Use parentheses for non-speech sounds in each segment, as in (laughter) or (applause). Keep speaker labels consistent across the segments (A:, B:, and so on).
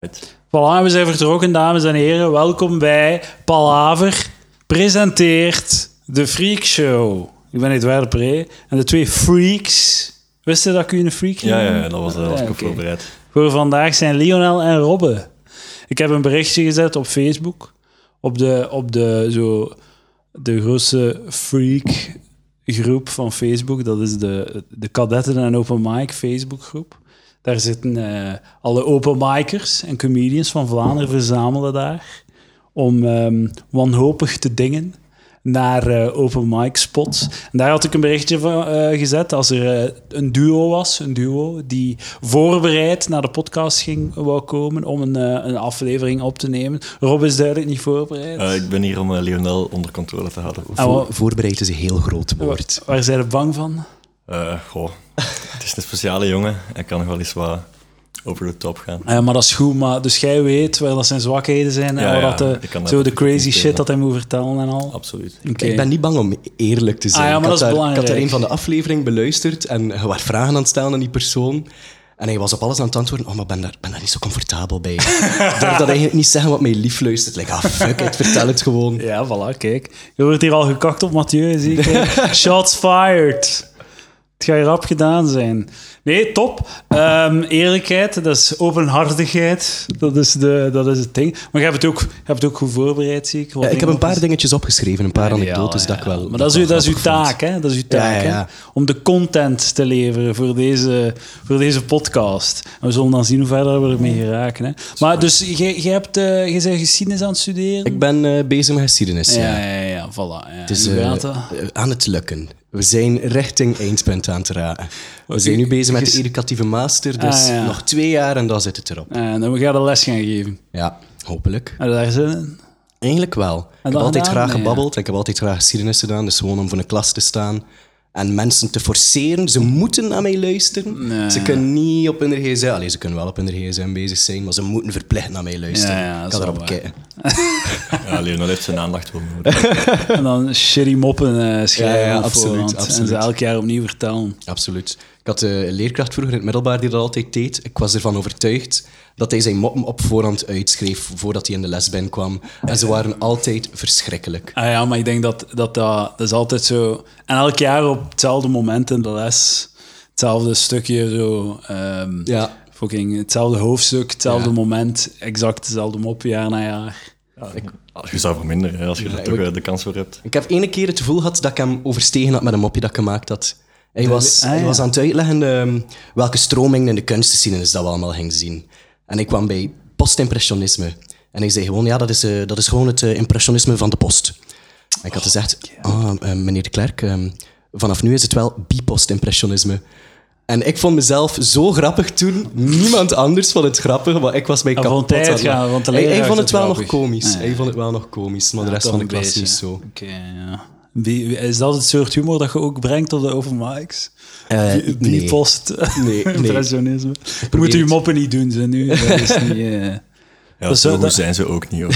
A: Uit.
B: Voilà, we zijn vertrokken, dames en heren. Welkom bij Palaver. Presenteert de Freak Show. Ik ben Edouard Pre en de twee freaks. Wist je dat ik u een freak
A: Ja, ja,
B: noem?
A: ja, dat was, eh, dat was ik
B: Ja,
A: op
B: Ah, oké.
A: voorbereid.
B: Voor vandaag zijn Lionel en Robbe. Ik heb een berichtje gezet op Facebook. Op de, op de, zo, de grootste freak groep van Facebook. Dat is de, de kadetten en open mic Facebook groep. Daar zitten eh, alle open micers en comedians van Vlaanderen verzamelen daar. Om ehm, wanhopig te dingen naar eh, open mic spots. En daar had ik een berichtje van eh, gezet. Als er eh, een duo was, een duo die voorbereid naar de podcast ging wou komen om een, eh, een aflevering op te nemen. Rob is duidelijk niet voorbereid.
A: Eh, ik ben hier om eh, Lionel onder controle te houden.
B: Ah, wa-
C: Voor, voorbereid is een heel groot
B: waar,
C: woord.
B: waar zijn we bang van?
A: Eh, goh, het is een speciale jongen. Hij kan nog wel eens wat over de top gaan.
B: Eh, maar dat is goed, maar dus jij weet waar dat zijn zwakheden zijn en
A: Ja,
B: waar
A: ja,
B: dat de,
A: ik kan dat
B: zo de
A: goed
B: crazy
A: inspelen.
B: shit dat hij moet vertellen en al.
A: Absoluut.
B: Oké.
C: Ik ben niet bang om eerlijk te zijn.
B: Ah ja, maar
C: ik,
B: dat is
C: had daar, ik had
B: belangrijk.
C: daar een van de afleveringen beluisterd en je was vragen aan het stellen aan die persoon. En hij was op alles aan het antwoorden. Oh, maar ik ben daar, ben daar niet zo
B: (laughs)
C: comfortabel bij. Ik durf dat eigenlijk niet zeggen wat mij lief luistert. Like, ah, fuck it, vertel het gewoon.
B: Ja, voilà, kijk. Je wordt hier al gekakt op Mathieu, zie ik.
C: (laughs)
B: hè. Shots fired. Het gaat hier rap gedaan zijn. Nee, top. Ehm, eerlijkheid, dat is openhartigheid. Dat is, de, dat is het ding. Maar je hebt het ook, je hebt het ook goed voorbereid, zie ik. Wat
C: Ja, ik heb
B: dingen
C: een paar
B: opgezet.
C: dingetjes opgeschreven, een paar
B: Ja,
C: anekdotes
B: ja,
C: dat
B: ja.
C: ik wel...
B: Maar dat is, uw- dat is uw
C: grappig vond.
B: taak, hè? Dat is uw taak,
C: Ja, ja, ja.
B: Hè? Om de content te leveren voor deze, voor deze podcast. En we zullen dan zien hoe verder we ermee geraken, hè? Maar dus, je, je, hebt, eh, je bent geschiedenis aan het studeren?
C: Ik ben eh, bezig met geschiedenis, ja.
B: ja, ja, ja, ja, voilà. Ja.
C: Het is eh, aan het lukken. We zijn richting eindpunt aan het raken. We zijn nu bezig met de educatieve master, dus
B: Ah, ja.
C: nog twee jaar en dan zit het erop.
B: En dan gaan we les gaan geven.
C: Ja, hopelijk.
B: En daar zin in.
C: (laughs) Eigenlijk wel. Ik heb
B: dat
C: altijd
B: gedaan?
C: graag
B: Nee,
C: gebabbeld en ik heb altijd graag geschiedenis gedaan. Dus gewoon om voor een klas te staan en mensen te forceren. Ze moeten naar mij luisteren. Ze kunnen niet op hun gsm... Allee, ze kunnen wel op hun gsm bezig zijn, maar ze moeten verplicht naar mij luisteren.
B: Ja, ja, dat
C: ik
B: is
C: kan
B: wel
C: erop
B: waar.
C: kijken.
A: Ja, Lionel heeft zijn aandacht wel nodig.
B: En dan shitty moppen eh, schrijven.
C: Ja, ja,
B: op
C: absoluut,
B: voorhand. En
C: absoluut.
B: ze elk jaar opnieuw vertellen.
C: Absoluut. Ik had eh, een leerkracht vroeger in het middelbaar die dat altijd deed. Ik was ervan overtuigd dat hij zijn moppen op voorhand uitschreef voordat hij in de les binnenkwam. En ze waren altijd verschrikkelijk.
B: Ah ja, maar ik denk dat dat, dat dat is altijd zo. En elk jaar op hetzelfde moment in de les, hetzelfde stukje zo. ehm,
C: Ja.
B: Fucking hetzelfde hoofdstuk, hetzelfde
C: Ja.
B: moment, exact dezelfde mop jaar na jaar.
A: Ja, je zou verminderen hè, als je er toch
C: ik-
A: eh, de kans voor hebt.
C: Ik heb ene keer het gevoel gehad dat ik hem overstegen had met een mopje dat ik gemaakt had. Hij was,
B: ah,
C: hij
B: ja.
C: was aan het uitleggen ehm, welke stromingen in de kunstgeschiedenis dat we allemaal gingen zien. En ik kwam bij postimpressionisme. En ik zei gewoon, ja, dat is, eh, dat is gewoon het eh, impressionisme van de post. En
B: Oh,
C: ik had gezegd, ah, eh, meneer de Klerk, ehm, vanaf nu is het wel bi-postimpressionisme. En ik vond mezelf zo grappig toen. Niemand anders vond het grappig, maar ik was bij
B: Hij
C: kapot.
B: vond hij
C: aan
B: het
C: lachen.
B: graag, want de
C: hij, hij
B: leraar
C: vond
B: vond het
C: het wel nog
B: grappig.
C: komisch.
B: Ah, ja.
C: Hij vond het wel nog komisch, maar de rest
B: Toch
C: van de
B: een
C: klas
B: beetje,
C: niet
B: hè?
C: zo.
B: Oké, ja. Wie, wie- is dat het soort humor dat je ook brengt op de open mics?
C: Eh,
B: Die- die
C: nee.
B: post (laughs)
C: Nee, nee.
B: impressionisme. Moet u
C: het.
B: moppen niet doen, ze nu. Dat is niet...
C: (laughs)
B: eh,
A: Ja,
B: Dat
A: zo
B: zou-
A: goed
B: dat-
A: zijn ze ook niet. Hoor.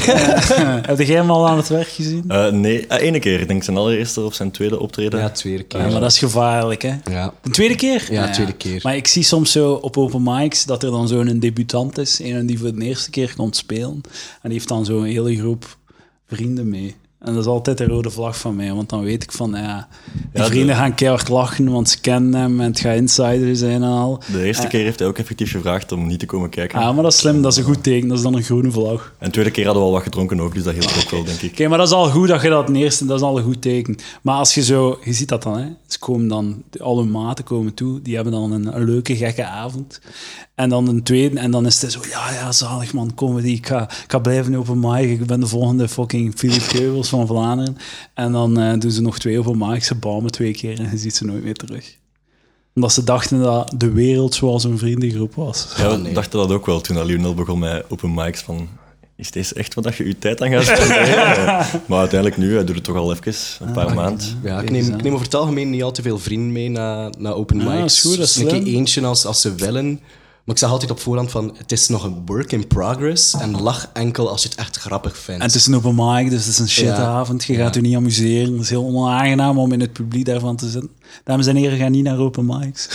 B: (laughs) Heb jij hem al aan het werk gezien?
A: Eh, nee, eh, ene keer. Ik denk zijn allereerste of zijn tweede optreden.
C: Ja, tweede keer.
B: Ja, maar dat is gevaarlijk, hè?
C: Ja.
B: De tweede keer?
C: Ja, tweede keer.
B: Maar ik zie soms zo op open mics dat er dan zo'n debutant is, een die voor de eerste keer komt spelen. En die heeft dan zo'n hele groep vrienden mee. En dat is altijd de rode vlag van mij, want dan weet ik van, ja, die
A: Ja,
B: vrienden
A: de-
B: gaan keihard lachen, want ze kennen hem en het gaat insider zijn en al.
A: De eerste keer heeft hij ook effectief gevraagd om niet te komen kijken.
B: Ja, maar dat is slim, dat is een goed teken, dat is dan een groene vlag.
A: En de tweede keer hadden we al wat gedronken ook, dus dat hielp ook wel, denk ik.
B: Oké, maar dat is al goed dat je dat eerste, dat is al een goed teken. Maar als je zo, je ziet dat dan, hè? Ze komen dan, al hun maten komen toe, die hebben dan een, een leuke, gekke avond. En dan een tweede, en dan is het zo, ja, ja, zalig man, comedy, ik ga, ik ga blijven open mic, ik ben de volgende fucking Philip Keubels van Vlaanderen. En dan eh, doen ze nog twee open mics, ze bouwen twee keer en je ziet ze nooit meer terug. Omdat ze dachten dat de wereld zoals een vriendengroep was.
A: Ja, we
C: Ah, nee.
A: dachten dat ook wel toen dat Lionel begon met open mics. Van, is deze echt wat dat je je tijd aan gaat spenderen? maar uiteindelijk nu, hij doet het toch al even, een paar maanden.
C: Ja, ik neem, ik neem over het algemeen niet al te veel vrienden mee naar, naar open mics.
B: dat Ah, is goed, dat is
C: Dus een keer
B: slim.
C: eentje als, als ze willen. Maar ik zeg altijd op voorhand van, het is nog een work in progress. En lach enkel als je het echt grappig vindt.
B: En het is een open mic, dus het is een shitavond. Je gaat u niet amuseren. Het is heel onaangenaam om in het publiek daarvan te zitten. Dames en heren, ga niet naar open mics.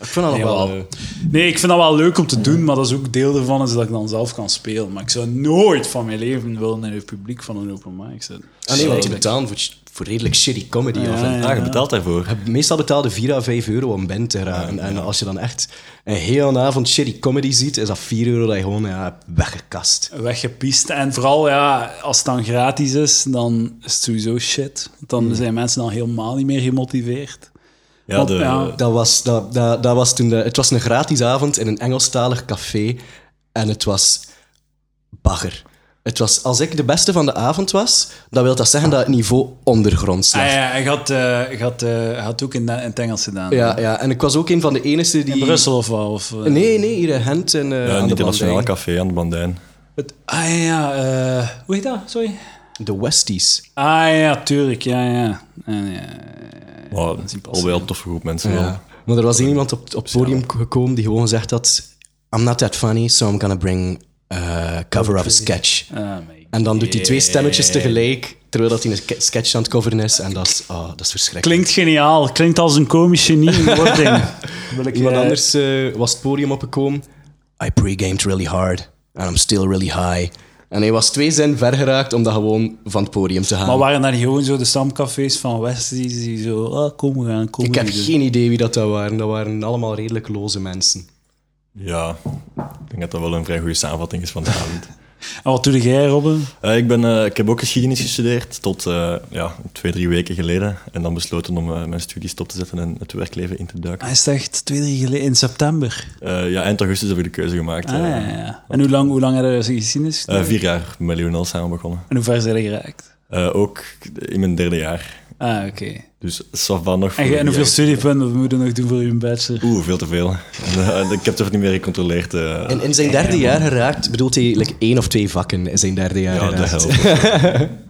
C: Ik vind dat nog
B: Nee,
C: wel... eh,
B: wel. Nee, ik vind dat wel leuk om te doen, maar dat is ook deel ervan is dat ik dan zelf kan spelen. Maar ik zou nooit van mijn leven willen in het publiek van een open mic zitten.
C: Ah, nee, want je betaalt voor, voor redelijk shitty comedy.
B: Ja,
C: of
B: ja.
C: een
A: Ah, je betaalt daarvoor.
C: Meestal betaalde 4 à 5 euro om band te raken. En als je dan echt een hele avond shitty comedy ziet, is dat 4 euro dat je gewoon ja, hebt weggekast.
B: Weggepiest. En vooral, ja, als het dan gratis is, dan is het sowieso shit. Dan zijn mensen dan helemaal niet meer gemotiveerd.
A: Ja,
B: Want,
A: de, eh,
B: ja.
C: Dat was, dat, dat, dat was toen de, het was een gratis avond in een Engelstalig café. En het was bagger. Het was, als ik de beste van de avond was, dan wil dat zeggen dat het niveau ondergronds lag.
B: Ah, ja, hij had, eh, hij had, eh, hij had ook in, in het Engels gedaan.
C: ja, ja, en ik was ook een van de enigen die...
B: In Brussel of wel? Of, eh,
C: Nee, nee, hier in Gent. En, eh,
A: ja, in
C: aan de
A: het Nationaal
C: Bandijn.
A: Café aan de Bandijn.
B: het- ah ja, ja, eh, hoe heet dat? Sorry.
C: De Westies.
B: Ah ja, tuurlijk, ja, ja. En, ja,
A: Maar
B: dat is niet
A: al
B: passend.
A: wel een Oh, toffe groep mensen. wel.
C: Ja. Maar er was één iemand op, op het podium gekomen die gewoon gezegd had: I'm not that funny, so I'm gonna bring a cover of a sketch.
B: Ah, my
C: En dan doet hij twee stemmetjes tegelijk, terwijl dat hij een ske- sketch aan het coveren is. En dat is, ah, dat is verschrikkelijk.
B: Klinkt geniaal. Klinkt als een komisch genie (laughs) in wording. Wil ik
C: Iemand
B: eh,
C: anders eh, was het podium opgekomen. I pre-gamed really hard, and I'm still really high. En hij was twee zin ver geraakt om dat gewoon van het podium te
B: Maar
C: halen.
B: waren dat niet gewoon zo de stamcafés van Westies die zo... Ah, kom, we gaan komen.
C: Ik heb
B: dus?
C: geen idee wie dat, dat waren. Dat waren allemaal redelijk loze mensen.
A: Ja, ik denk dat dat wel een vrij goede samenvatting is van de avond.
B: En wat doe jij, Robben?
A: Eh, ik, ben, eh, ik heb ook geschiedenis gestudeerd tot eh, ja, twee, drie weken geleden. En dan besloten om eh, mijn studies stop te zetten en het werkleven in te duiken.
B: Hij is echt twee, drie geleden in september.
A: Eh, ja, eind augustus heb ik de keuze gemaakt.
B: Ah,
A: eh.
B: ja, ja. En hoe lang, hoe lang heb je dat geschiedenis?
A: Eh, vier jaar met Lionel samen begonnen.
B: En hoe ver zijn je geraakt?
A: Eh, ook in mijn derde jaar.
B: Ah, oké.
A: Dus Savan nog.
B: En,
A: voor
B: jij- en hoeveel
A: die-
B: studiepunten moet je nog doen voor je bachelor?
A: Oeh, veel te veel. En, eh, ik heb het niet meer gecontroleerd. eh.
C: In, in zijn derde jaar geraakt, bedoelt hij like, één of twee vakken in zijn derde jaar
A: ja, de
C: geraakt.
A: helft.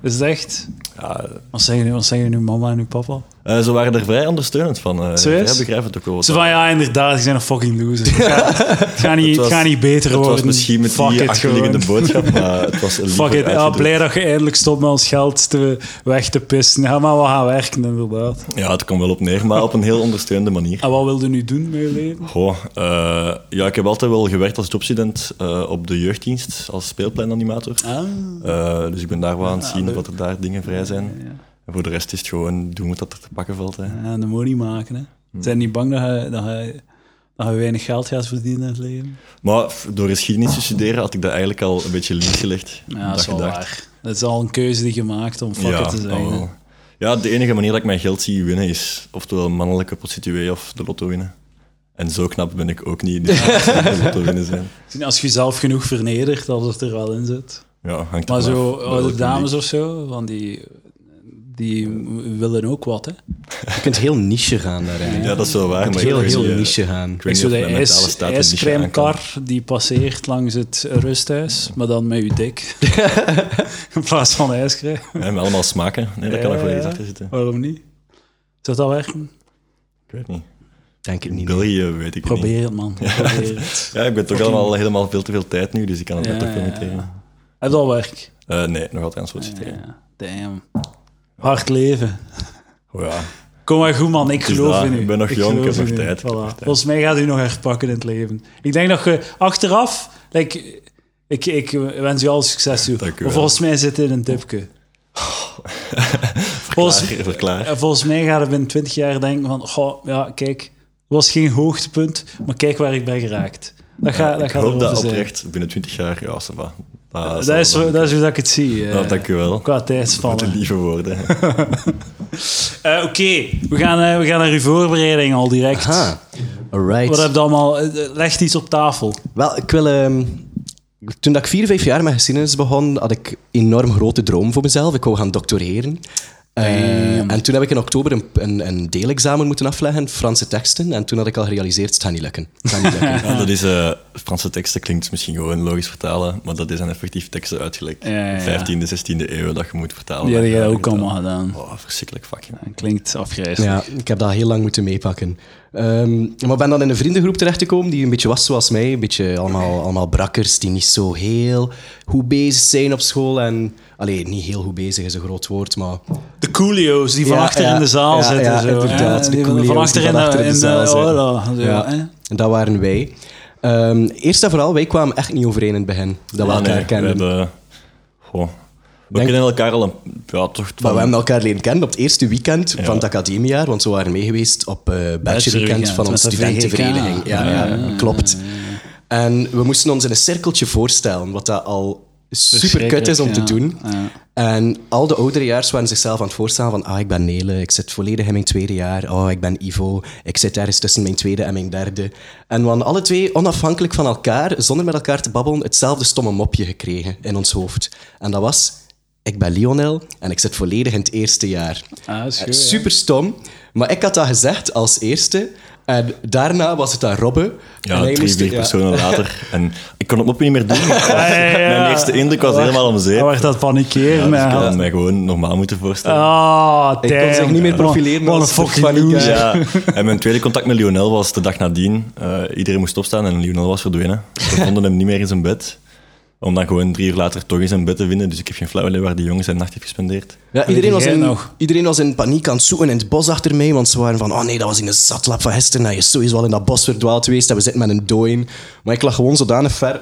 B: Is het echt?
A: Ja,
B: Wat zeggen, nu- wat zeggen nu mama en nu papa?
A: eh, ze waren er vrij ondersteunend van. eh zij
B: Serieus?
A: begrijpen het ook wel. wat
B: Ze van, ja, inderdaad, die zijn een fucking loser. Het gaat, het gaat niet, het
A: was-
B: gaat niet beter
A: (laughs) Het
B: worden.
A: was misschien met
B: Fuck
A: die
B: it,
A: achterliggende
B: gewoon.
A: boodschap, maar
B: (laughs)
A: het was liever
B: Fuck it, ja,
A: uitgedrukt.
B: blij dat je eindelijk stopt met ons geld te, weg te pissen. Ja, maar we gaan werken, inderdaad.
A: Ja, het kwam wel op neer, maar op een heel ondersteunende manier.
B: En wat wil je nu doen met je leven?
A: Goh, eh, ja, ik heb altijd wel gewerkt als jobstudent eh, op de jeugddienst, als speelpleinanimator.
B: Ah.
A: Eh, dus ik ben daar wel aan het zien dat er daar dingen vrij zijn. En voor de rest is het gewoon doen wat dat er te pakken valt. Hè.
B: Ja, de money maken, hè.
A: Hmm.
B: Zijn niet bang dat je, dat, je, dat je weinig geld gaat verdienen in het leven?
A: Maar f- door geschiedenis te studeren had ik dat eigenlijk al een beetje links gelegd.
B: Ja, dat is wel waar. Dat is al een keuze die je maakt om fuck
A: ja, oh.
B: it te zijn.
A: al
B: hè.
A: wel. ja, de enige manier dat ik mijn geld zie winnen is oftewel een mannelijke prostituee of de lotto winnen. En zo knap ben ik
B: (laughs)
A: ook niet. Dus dat zou de lotto winnen zijn.
B: Als je jezelf genoeg vernedert, dat het er wel in zit.
A: Ja, hangt
B: Maar
A: ervan
B: zo
A: af.
B: oude
A: Welke
B: dames
A: die-
B: of zo, van die, die willen ook wat, hè?
C: Je kunt heel niche gaan daar eigenlijk.
A: Ja, dat is wel waar.
C: Je
A: Maar
C: kunt heel,
A: ik weet
C: heel
A: niet, eh,
C: niche gaan.
A: Ik weet niet
B: zo
A: of
B: de
A: mijn mentale
B: ijs,
A: staat een niche aan kan.
B: ijscrèmekar die passeert langs het rusthuis, maar dan met je
A: (laughs)
B: dik. In plaats van ijscrème.
A: Ja, met allemaal smaken. Nee, dat kan
B: Ja,
A: nog wel iets
B: ja.
A: achter zitten.
B: Waarom niet? Zou dat werken?
A: Ik weet niet.
C: Denk ik
A: In
C: niet.
A: België weet ik het niet.
B: Probeer het, man. Probeer het.
A: Ja, ik ben toch allemaal helemaal veel te veel tijd nu, dus ik kan het
B: Ja,
A: net ook
B: ja,
A: permitteren.
B: ja. Heb je al werk?
A: Eh, nee, nog altijd aan het solliciteren.
B: Ja, damn. Hard leven.
A: Oh ja.
B: Kom maar goed, man. Ik
A: is
B: geloof
A: dat.
B: in u.
A: Ik ben nog jong, ik
B: geloof
A: heb
B: in
A: nog
B: u.
A: tijd, ik heb
B: Voilà.
A: nog tijd.
B: Volgens mij gaat u nog herpakken in het leven. Ik denk dat je achteraf... Like, ik, ik wens u al succes toe.
A: Dank u
B: Maar
A: wel.
B: volgens mij zit dit in een
A: (laughs)
B: tipje. volgens,
A: Klaar, verklaar.
B: en volgens mij gaat je binnen 20 jaar denken van... Goh, ja, kijk, het was geen hoogtepunt, maar kijk waar ik ben geraakt. Dat, ga, dat
A: ik
B: gaat
A: hoop
B: erover
A: dat
B: zijn.
A: oprecht binnen 20 jaar, ja, ça va.
B: Dat, is,
A: wel-
B: zo- dat is hoe dat ik het zie. eh,
A: Nou, dank u wel.
B: Qua tijdspannen.
A: Met de lieve
B: (laughs)
A: woorden.
B: Eh, Oké, we, gaan, eh, we gaan naar uw voorbereiding al direct.
C: Aha. Ah, Alright.
B: Wat heb je allemaal? eh, eh, Leg iets op tafel.
C: Wel, ik wil... ehm, toen dat ik vier, vijf jaar met geschiedenis begon, had ik een enorm grote droom voor mezelf. Ik wou gaan doctoreren. Eh, en toen heb ik in oktober een, een, een deelexamen moeten afleggen, Franse teksten. En toen had ik al gerealiseerd, het gaat niet lukken. Het gaat niet lukken.
A: Ja, dat is, eh, Franse teksten klinkt misschien gewoon logisch vertalen, maar dat is een effectief teksten uit gelijk
B: Ja, ja, ja.
A: 15e, 16e eeuw dat je moet vertalen.
B: Die had
A: Ja,
B: jij
A: dat
B: ook allemaal gedaan.
A: Oh, verschrikkelijk vakje.
C: (laughs)
B: Klinkt afgrijzelijk.
C: Ja, ik heb dat heel lang moeten meepakken. Ehm, maar ik ben dan in een vriendengroep terechtgekomen die een beetje was zoals mij. Een beetje allemaal, allemaal brakkers die niet zo heel goed bezig zijn op school. En, allee, niet heel goed bezig is een groot woord, maar...
B: De coolio's die van
C: Ja,
B: achter
C: ja,
B: in de zaal
C: ja,
B: zitten.
C: ja,
B: zo,
C: inderdaad,
B: hè.
C: de
B: Die van-
C: coolio's
B: van achter in
C: die van
B: de,
C: achter in de
B: in de-
C: zaal zitten.
B: oh, zo,
C: Ja,
B: hè.
C: en dat waren wij. Ehm, eerst en vooral, wij kwamen echt niet overeen in het begin. Dat we
A: Ah,
C: elkaar
A: nee,
C: kenden.
A: We, hebben- goh. we
C: Denk-
A: kennen elkaar al een... Ja, toch...
C: Maar
A: van-
C: we hebben elkaar leren kennen op het eerste weekend van het academiejaar, want we waren mee geweest op eh bachelorweekend
B: Bachelorweekend
C: van onze
B: met de VGK.
C: studentenvereniging. Ja, ja, klopt. En we moesten ons in een cirkeltje voorstellen, wat dat al super kut is om te
B: ja.
C: doen.
B: Ja.
C: En al de ouderejaars waren zichzelf aan het voorstellen van ah, ik ben Nele, ik zit volledig in mijn tweede jaar. Oh, ik ben Ivo, ik zit ergens tussen mijn tweede en mijn derde. En we hadden alle twee, onafhankelijk van elkaar, zonder met elkaar te babbelen, hetzelfde stomme mopje gekregen in ons hoofd. En dat was, ik ben Lionel en ik zit volledig in het eerste jaar.
B: Ah, dat is goed,
C: Eh,
B: ja.
C: Super stom, maar ik had dat gezegd als eerste. En daarna was het aan Robbe. en
A: Ja, drie,
C: moest-
A: vier
C: ja.
A: personen
B: (laughs)
A: later. En ik kon het mop niet meer doen.
B: ja, ja.
A: Mijn eerste indruk was helemaal om
B: Hij
A: zeep.
B: werd dat
A: Ja,
B: panikeren.
A: dus ik
B: hè.
A: had mij gewoon normaal moeten voorstellen.
B: Ah,
C: Ik kon zich niet meer profileren
B: Wat een
C: als
B: fucking
C: funny guy.
B: loser.
A: Ja, en mijn tweede contact met Lionel was de dag nadien. Eh, iedereen moest opstaan en Lionel was verdwenen. We vonden hem niet meer in zijn bed. Om dan gewoon drie uur later toch in zijn bed te vinden. Dus ik heb geen flauw idee waar die jongen zijn nacht heeft gespendeerd.
C: Ja, iedereen
B: die
C: was,
B: jij
C: in,
B: nog?
C: iedereen was in paniek aan het zoeken in het bos achter mij, want ze waren van, oh nee, dat was in de zatlap van gisteren, hij is sowieso al in dat bos verdwaald geweest en we zitten met een dooien. Maar ik lag gewoon zodanig ver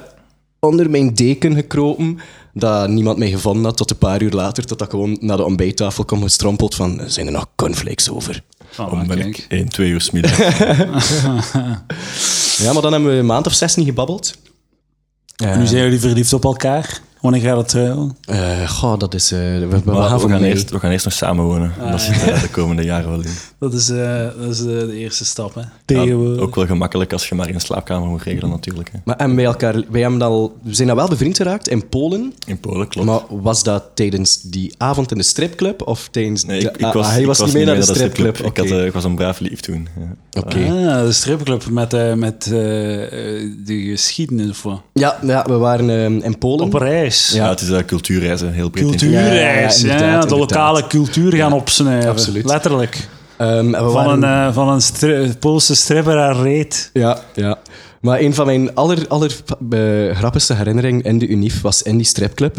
C: onder mijn deken gekropen, dat niemand mij gevonden had tot een paar uur later, tot ik gewoon naar de ontbijttafel kwam gestrompeld van, zijn er nog cornflakes over?
B: Oh,
A: Om ben
B: kijk.
A: ik één, twee uur
C: (laughs)
A: smiddag.
C: Ja, maar dan hebben we een maand of zes niet gebabbeld.
B: En Nu zijn jullie verliefd op elkaar. Wanneer gaat dat trouwen?
C: Eh, goh, dat is... eh, we, we gaan
A: Maar we
C: voor
A: gaan,
C: mee.
A: eerst, we gaan eerst nog samen wonen. dat zit er de komende jaren wel in.
B: Dat is, eh, dat is de, eerste stap, hè?
A: Ja,
B: Tegenwoordig.
A: ook wel gemakkelijk als je maar in een slaapkamer moet regelen natuurlijk. Hè.
C: Maar en wij, elkaar, wij hebben al, we zijn al wel bevriend geraakt in Polen.
A: In Polen, klopt.
C: Maar was dat tijdens die avond in de stripclub of tijdens...
A: Nee,
C: de-
A: ik, ik
C: ah,
A: was,
C: ah, hij
A: ik
C: was niet mee naar de stripclub.
A: Ik, had, eh, ik was een braaf lief toen. ja.
C: Oké. Oké.
B: Ah, de stripclub met, eh, met eh, eh, de geschiedenis of wat?
C: Ja, ja, we waren ehm, in Polen.
B: Op reis.
A: Ja, het is eh, cultuurreizen, heel breed.
B: Cultuurreis.
C: Ja,
B: Ja,
C: ja,
B: de
C: inderdaad,
B: lokale
C: inderdaad.
B: cultuur gaan opsnuiven.
C: absoluut.
B: Letterlijk.
C: Ehm, en
B: Van
C: we waren-
B: een, eh, van een stri- Poolse stripper aan
C: (laughs)
B: reet.
C: Ja, ja. Maar een van mijn aller, aller eh, grappigste herinneringen in de UNIF was in die stripclub.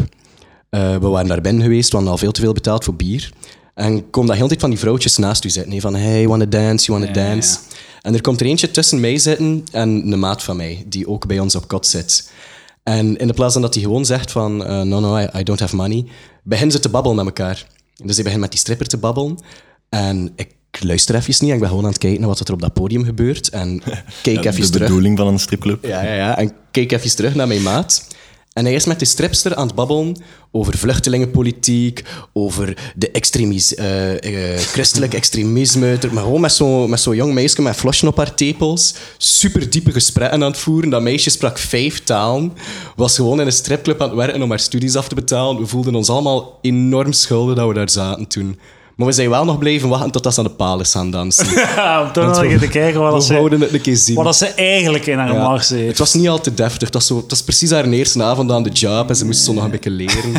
C: Eh, we waren daar binnen geweest, we hadden al veel te veel betaald voor bier. En ik kom daar heel de tijd van die vrouwtjes naast u zitten. hè, Van, hey, wanna dance, you wanna
B: Ja, ja, ja.
C: dance. En er komt er eentje tussen mij zitten en een maat van mij, die ook bij ons op kot zit. En in de plaats van dat hij gewoon zegt van, eh, no, no, I, I don't have money, beginnen ze te babbelen met elkaar. Dus hij begint met die stripper te babbelen. En ik luister even niet, en ik ben gewoon aan het kijken naar wat er op dat podium
A: (laughs)
C: gebeurt. En kijk
A: de
C: even terug.
A: bedoeling van een stripclub.
C: Ja, ja, ja. En keek even terug naar mijn maat. En hij is met de stripster aan het babbelen over vluchtelingenpolitiek, over de extremis, eh, eh, christelijk extremisme. Ter- Maar gewoon met zo'n met zo'n jong meisje met flosje op haar tepels. Super diepe gesprekken aan het voeren. Dat meisje sprak vijf talen. Was gewoon in een stripclub aan het werken om haar studies af te betalen. We voelden ons allemaal enorm schuldig dat we daar zaten toen. Maar we zijn wel nog blijven wachten totdat ze aan de palen gaan dansen.
B: Ja, om toch nog even te kijken wat, dat
C: we
B: ze,
C: houden het een keer zien.
B: wat dat ze eigenlijk in haar
C: Ja.
B: mars heeft.
C: Het was niet al te deftig. Het was, zo, het was precies haar eerste avond aan de job en ze moest zo nog een beetje
B: (laughs)
C: leren.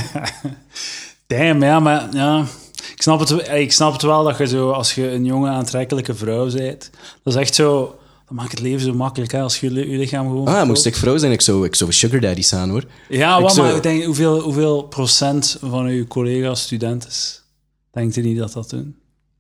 B: Damn, ja, maar ja. Ik snap, het, ik snap het wel dat je zo, als je een jonge aantrekkelijke vrouw bent, dat is echt zo, dat maakt het leven zo makkelijk hè, als je li- je lichaam gewoon.
C: Ah, moest ik vrouw zijn, ik zou, ik zou een sugar daddy zijn hoor.
B: Ja,
C: ik
B: wat,
C: zou-
B: maar ik denk, hoeveel, hoeveel procent van uw collega's student is? Denkt u niet dat dat doen?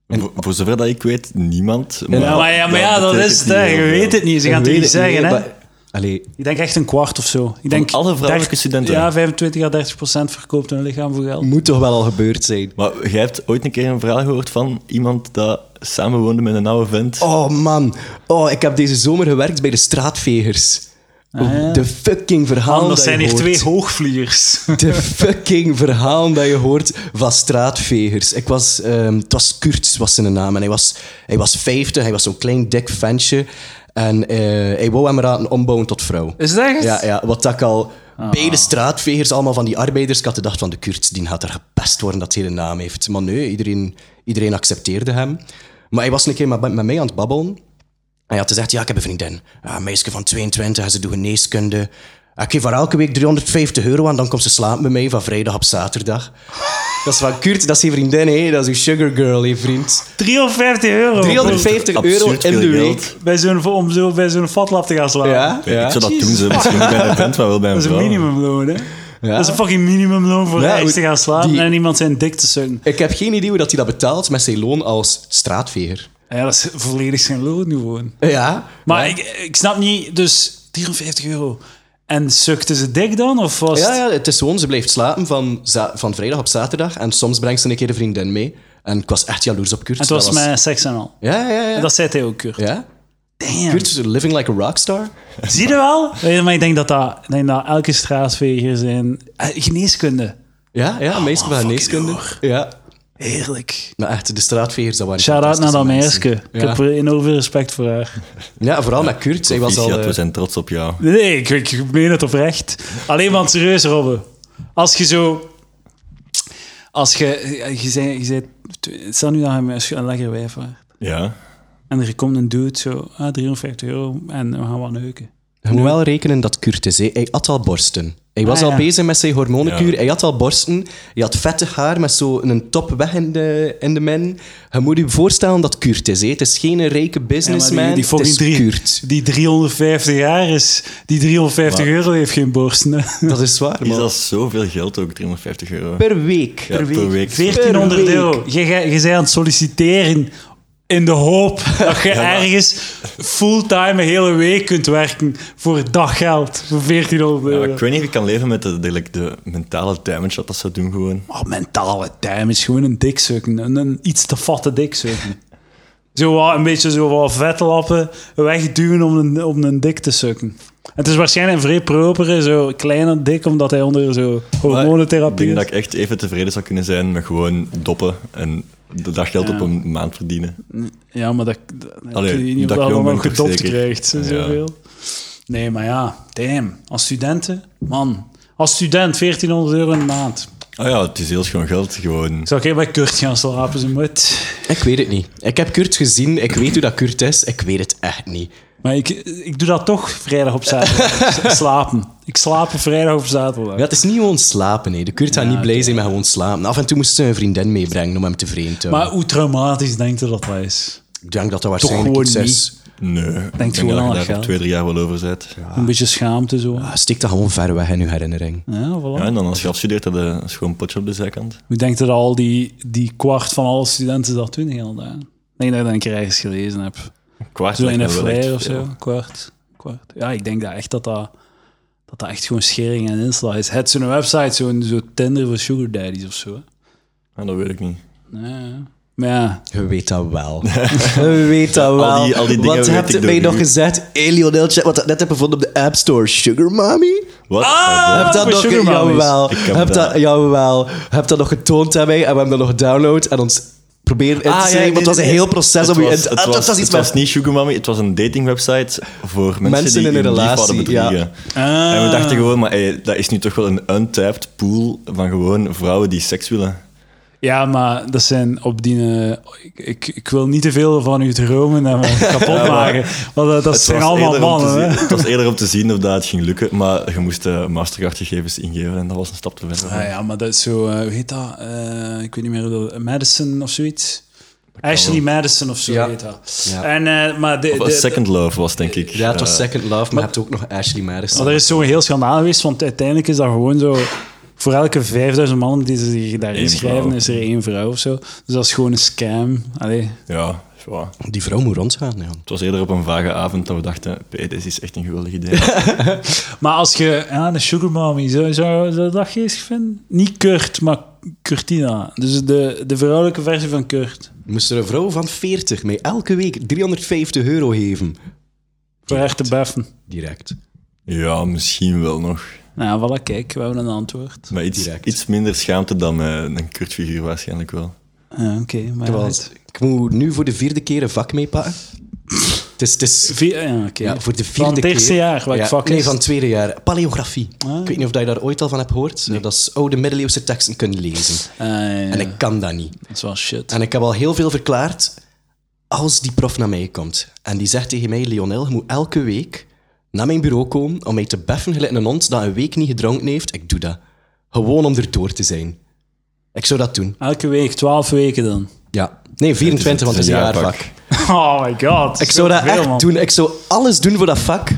A: Voor, voor zover dat ik weet, niemand. Maar,
B: Ja, maar ja, maar ja Nou, dat is
A: betekent
B: het. hè.
A: niet
B: Je
A: heel veel.
B: weet het niet. Ze gaan het u
C: Weet
B: niet
C: ik
B: zeggen. hè?
C: maar- Allee,
B: Ik denk echt een kwart of zo. Ik denk
A: alle vrouwelijke
B: 30
A: studenten?
B: Ja, 25 à 30 procent verkoopt hun lichaam voor geld.
C: moet toch wel al gebeurd zijn.
A: Maar jij hebt ooit een keer een verhaal gehoord van iemand dat samenwoonde met een oude vent.
C: Oh man, oh, ik heb deze zomer gewerkt bij de straatvegers.
B: Ah,
C: Oh, De fucking verhalen
B: Anders
C: dat je
B: zijn hier
C: hoort.
B: twee hoogvliegers.
C: (laughs) De fucking verhaal dat je hoort van straatvegers. Ik was, ehm, het was Kurt, was zijn naam. En hij was, hij was 50, hij was zo'n klein dik ventje. En eh, hij wou hem laten ombouwen tot vrouw.
B: (laughs) Is dat echt?
C: Ja, ja, wat dat ik al bij de straatvegers, allemaal van die arbeiders, ik had gedacht van de Kurt, die gaat er gepest worden dat hij een naam heeft. Maar nee, iedereen, iedereen accepteerde hem. Maar hij was een keer met, met mij aan het babbelen. En hij had gezegd, ja, ik heb een vriendin. Ja, Een meisje van 22 en ze doet geneeskunde. Ik geef haar elke week 350 euro aan, dan komt ze slapen bij mij van vrijdag op zaterdag. Dat is van Kurt, dat is je vriendin, hè. dat is je sugar girl, hè, vriend.
B: 350 euro
C: 350
A: Absurd
C: euro in
A: veel
C: de
A: geld.
C: week.
B: bij zo'n, om zo bij zo'n fatlap te gaan slaan.
C: Ja,
A: Ik
C: ja.
A: zou dat doen, ze. misschien niet bij een vent, maar wel
C: (laughs)
A: bij een
B: Dat is
A: vrouw.
B: een minimumloon, hè?
C: Ja.
B: Dat is een fucking minimumloon voor
C: Ja,
B: ja,
C: hoe-
B: te gaan slaan
C: die-
B: en iemand zijn dik te sukken.
C: Ik heb geen idee hoe dat hij dat betaalt met zijn loon als straatveger.
B: Ja, dat is volledig zijn loon gewoon.
C: Ja.
B: Maar ik, ik snap niet, dus 53 euro. En sukte ze dik dan? Of was
C: Ja,
B: het-
C: ja, het is gewoon, ze blijft slapen van, za- van vrijdag op zaterdag en soms brengt ze een keer een vriendin mee. En ik was echt jaloers op Kurt.
B: het was met seks en al.
C: Ja, ja, ja.
B: En dat zei hij ook, Kurt.
C: ja.
B: Damn.
C: Kurt is living like a rockstar.
B: Zie je wel? Weet je, maar ik denk dat, dat, ik denk dat elke straatveger zijn... eh, Geneeskunde.
C: Ja, ja,
B: Oh,
C: meisje van geneeskunde. Ja.
B: Heerlijk.
C: Maar echt, de straatvegers, dat waren
B: Shout-out naar dat
C: fantastische mensen.
B: meisje. Ik
C: Ja.
B: heb er enorm veel respect voor haar.
C: Ja, vooral met Kurt. Hij was al...
A: Proficiat,
C: eh,
A: we zijn trots op jou.
B: Nee, ik, ik meen het oprecht. Alleen maar serieus, Robbe. Als je zo... Als je... eh, Je zei... Je zei stel nu dat je met een lekker wijf waart.
A: Ja.
B: En er komt een dude zo... Ah, 350 euro. En we gaan wat neuken.
C: Je moet wel rekenen dat Kurt is. hè. Hij had al borsten. Hij was
B: Ah,
C: al
B: ja.
C: bezig met zijn hormonenkuur.
A: Ja.
C: Hij had al borsten. Hij had vettig haar met zo'n top weg in de, in de men. Je moet je voorstellen dat Kurt is. hè. Het is geen rijke
B: die,
C: businessman.
B: die
C: het
B: fucking
C: is
B: drie,
C: Kurt.
B: die 350 jaar is... Die 350
A: Maar-
B: euro heeft geen borsten. hè.
C: Dat is waar,
A: Is
C: man.
A: dat zoveel geld ook, 350 euro?
C: Per week.
A: Ja, per week.
B: 1400
C: Per
B: euro. Je, je, je bent aan het solliciteren in de hoop (laughs) dat je ergens fulltime een hele week kunt werken voor daggeld. Voor 1400
A: Ja, maar
B: euro.
A: ik weet niet of ik kan leven met de, de, like, de mentale damage dat dat zou doen gewoon.
B: Oh, mentale time is gewoon een dikzukken. Een, een iets te vatte dikzukken. (laughs) zo wat, een beetje zo wat vetlappen wegduwen om een, om een dik te sukken. Het is waarschijnlijk een vrij propere, zo klein en dik, omdat hij onder zo
A: Ik
B: hormonentherapie
A: denk dat
B: is.
A: ik echt even tevreden zou kunnen zijn met gewoon doppen en dat dat geld op een maand verdienen.
B: Ja, maar dat, dat, dat
A: Allee,
B: kun je niet op dat
A: dat ik jong
B: allemaal
A: ben, toch
B: gedopt
A: zeker?
B: krijgt. zo-
A: Ja.
B: Zoveel. Nee, maar ja, damn. Als studenten, man. Als student, 1400 euro in de maand.
A: Oh ja, het is heel schoon geld. Gewoon.
B: Zou ik even bij Kurt gaan slapen, ze moet.
C: Ik weet het niet. Ik heb Kurt gezien. Ik weet hoe dat Kurt is. Ik weet het echt niet.
B: Maar ik, ik doe dat toch vrijdag op
A: (laughs)
B: zaterdag. S- slapen. Ik slaap vrijdag op zaterdag.
C: Ja, het is niet gewoon slapen. hè. De Kurt gaat niet blij zijn met gewoon slapen. Af en toe moest ze een vriendin meebrengen om hem tevreden te
B: Maar
C: houden.
B: hoe traumatisch denkt u dat dat is?
C: Ik denk dat dat waarschijnlijk
B: gewoon
C: iets is.
A: Nee. Ik denk
B: gewoon aan
A: dat
B: het
A: je daar
B: geld.
A: op twee, drie jaar wel over bent. Ja.
B: Een beetje schaamte zo.
C: Ah, Steek dat gewoon ver weg in uw herinnering.
B: Ja, voilà.
A: en dan als je afstudeert, heb je een schoon potje op de zijkant.
B: Hoe denkt u dat al die, die kwart van alle studenten dat doen heel dag? Ik denk dat ik dat een keer ergens gelezen heb.
A: Een kwart
B: Zo
A: lijkt
B: in
A: me
B: een
A: wel echt
B: flyer of
A: veel.
B: zo. Kwart. kwart. Ja, ik denk dat echt dat dat, dat, dat echt gewoon schering en insla is. Het is zo'n website, zo'n zo Tinder voor sugar daddies of zo. hè.
A: Ah, dat weet ik niet.
B: Ja, ja. Maar ja,
C: Je weet dat
A: (laughs)
C: wel. Je weet dat wel.
A: die- al die dingen
C: wat
A: weet
C: hebt
A: ik
C: u
A: door
C: mij
A: u.
C: nog gezegd? Hey Lionel, check wat ik net heb gevonden op de App Store. Sugar Mommy?
A: Wat?
B: Ah!
C: heb dat
B: voor
C: nog
B: Sugar Mommies.
C: Jawel.
A: Ik heb
C: Heb
A: dat.
C: dat, jawel. Heb dat nog getoond aan mij en we hebben dat nog gedownload en ons proberen in te
A: Ah, ja,
C: schrijven.
A: nee,
C: want het was
A: nee,
C: een heel
A: nee.
C: proces
A: Het
C: om je in
A: was,
C: te...
A: het
C: Ah,
A: was,
C: dat was
A: het
C: iets
A: was
C: met...
A: niet Sugar Mommy, het was een datingwebsite voor mensen,
C: Mensen
A: die
C: in een
A: hun lief
C: relatie,
A: hadden bedriegen. En we dachten gewoon, maar hey, dat is nu toch wel een untapped pool van gewoon vrouwen die seks willen.
B: Ja, maar dat zijn op die... eh, ik, ik, ik wil niet te veel van uw dromen en
A: (laughs)
B: me kapot maken. Want dat, dat
A: Het
B: zijn
A: was
B: allemaal
A: eerder om te
B: mannen, hè.
A: zien- Het was eerder om te zien of dat het ging lukken, maar je moest eh mastercardgegevens ingeven en dat was een stap te ver.
B: Ah, ja, maar dat is zo... eh, hoe heet dat? Eh, ik weet niet meer hoe dat... Madison of zoiets? Ashley Madison of zo
C: Ja.
B: heet dat.
C: Ja.
B: En, eh, maar de,
A: Of
B: de-
A: Second Love was, denk ik.
C: Ja, het was
A: Eh,
C: Second Love, maar je hebt ook nog Ashley Madison.
B: Maar er is zo'n heel schandaal geweest, want uiteindelijk is dat gewoon zo... Voor elke 5000 mannen die ze zich daar
A: Eén
B: inschrijven,
A: vrouw.
B: is er één vrouw of zo. Dus dat is gewoon een scam. Allee.
A: ja, ja,
C: Die vrouw moet rondgaan, ja.
A: het was eerder op een vage avond dat we dachten, "P, dit is echt een geweldig
C: (laughs)
A: idee.
B: Maar als je ja, de Sugar Mommy, zou, zou je dat geestig vinden? Niet Kurt, maar Curtina. Dus de, de vrouwelijke versie van Kurt.
C: Moest er een vrouw van 40 mij elke week 350 euro geven.
B: Voor haar te beffen.
C: Direct.
A: ja, misschien wel nog.
B: Nou, voilà, kijk, we hebben een antwoord.
A: Maar iets,
C: Direct.
A: iets minder schaamte dan eh, een Kurt-figuur waarschijnlijk wel.
B: Ja, Oké, maar...
C: Terwijl ik moet nu voor de vierde keer een vak meepakken. Het is, het is
B: Vier, ja, oké.
C: ja, voor de vierde
B: Van het eerste
C: keer.
B: jaar, wat
C: Ja,
B: ik vak
C: Nee,
B: is.
C: van het tweede jaar. Paleografie.
B: Ah.
C: Ik weet niet of dat je daar ooit al van hebt gehoord. Dat is oude middeleeuwse teksten kunnen lezen.
B: Ah, ja, ja.
C: En ik kan dat niet.
B: Dat is wel shit.
C: En ik heb al heel veel verklaard. Als die prof naar mij komt en die zegt tegen mij: Lionel, je moet elke week naar mijn bureau komen om mij te beffen gelijk een hond dat een week niet gedronken heeft. Ik doe dat. Gewoon om erdoor te zijn. Ik zou dat doen.
B: Elke week, 12 weken dan.
C: Ja. Nee, 24, want het is een jaarvak.
B: Oh my god.
C: Ik zou dat echt doen. Ik zou alles doen voor dat vak.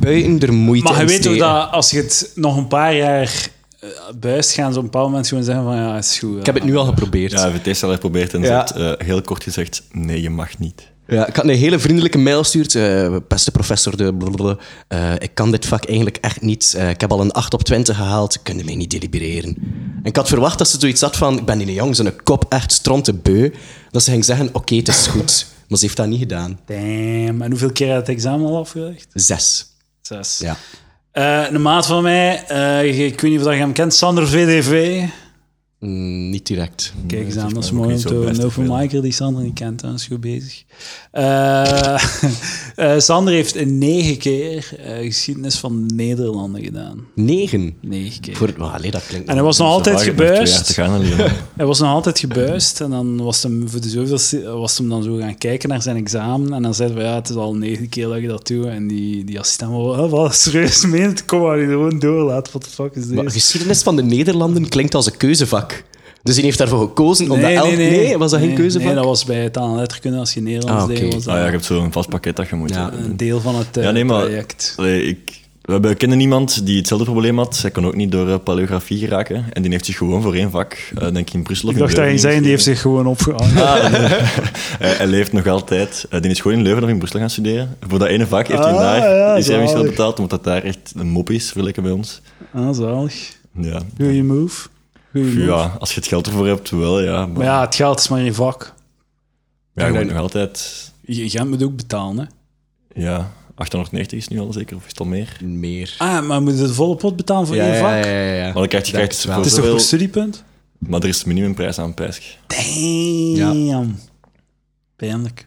C: Buiten er moeite
B: Maar je
C: in
B: weet toch
C: steken.
B: dat als je het nog een paar jaar eh, buist, gaan ze op een bepaald moment gewoon zeggen van ja, het is goed.
C: Ik heb het nu al geprobeerd.
A: Ja, VT heeft geprobeerd en ze
C: Ja.
A: heeft eh, heel kort gezegd, nee, je mag niet.
C: Ja, ik had een hele vriendelijke mail gestuurd. eh, beste professor, de blablabla, eh, ik kan dit vak eigenlijk echt niet. Eh, ik heb al een 8 op 20 gehaald. Kunnen mij niet delibereren. En ik had verwacht dat ze zoiets had van... Ik ben die jong, zijn kop echt stront te beu. Dat ze ging zeggen, oké, het is goed. Maar ze heeft dat niet gedaan.
B: Damn. En hoeveel keer had het examen al afgelegd?
C: Zes.
B: Zes.
C: Ja.
B: Eh, een maat van mij, eh, ik weet niet of dat je hem kent, Sander VDV.
C: Mm, niet direct.
B: Kijk eens aan, dat is
A: mij
B: mooi
A: ook
B: om
A: niet
B: te
A: zo
B: horen.
A: best
B: Een open
A: veel.
B: micer die Sander niet kent, hè, is goed bezig. Eh, (laughs) eh, Sander heeft in negen keer eh, geschiedenis van Nederlanden gedaan.
C: Negen.
B: Negen keer.
C: Voor, oh, allee, dat klinkt...
B: En hij was nog altijd
A: Waar, je hebt nog twee jaar
B: gebuist.
A: te gaan Ah en
C: (laughs)
A: leren.
B: Hij was nog altijd gebuist en dan was hem voor de zoveelste was hem dan zo gaan kijken naar zijn examen en dan zeiden we ja het is al negen keer dat je dat doet en die, die assistent was "Ah, wat serieus meent kom maar hier gewoon door laat wat de fuck is dit
C: Maar geschiedenis van de Nederlanden klinkt als een keuzevak. Dus hij heeft daarvoor gekozen om dat elk... was dat geen
B: Nee,
C: keuzevak?
B: Nee, dat was bij taal en letterkunde als je Nederlands
C: Ah, oké.
B: deed was dat
A: Ah ja, je hebt zo'n vast pakket dat je moet
C: Ja.
A: eh, doen.
B: een deel van het eh,
A: Ja, nee, maar-
B: traject.
A: Allee, ik, we hebben- kennen iemand die hetzelfde probleem had. Zij kon ook niet door eh, paleografie geraken. En die heeft zich gewoon voor één vak, eh, denk ik in Brussel of
B: Ik
A: in
B: dacht dat je
A: Leuven
B: zei die heeft
A: ingeschreven.
B: zich gewoon opgehangen.
A: Eh, Hij, hij leeft nog altijd. Eh, die is gewoon in Leuven of in Brussel gaan studeren. Voor dat ene vak heeft hij
B: Ah,
A: daar
B: ja,
A: is hij misschien wel
B: zalig.
A: betaald, omdat dat daar echt een mop is, vergeleken bij ons.
B: (laughs) Ah, zalig.
A: Ja.
B: Goeie move. Goeie move.
A: ja, als je het geld ervoor hebt, wel ja. Maar,
B: Maar ja, het geld is maar je vak.
A: ja, je moet nog altijd...
B: Je, jij moet ook betalen, hè.
A: Ja, 890 is nu al zeker, of is het al meer?
C: Meer.
B: Ah, maar moet je de volle pot betalen voor één vak?
C: ja,
A: Maar dan krijg je,
C: Denk
A: krijgt
C: het wel.
A: voor
B: Het is toch
A: zoveel-
B: voor studiepunt?
A: Maar er is minimumprijs aan Pijsk.
B: Damn. Pijnlijk.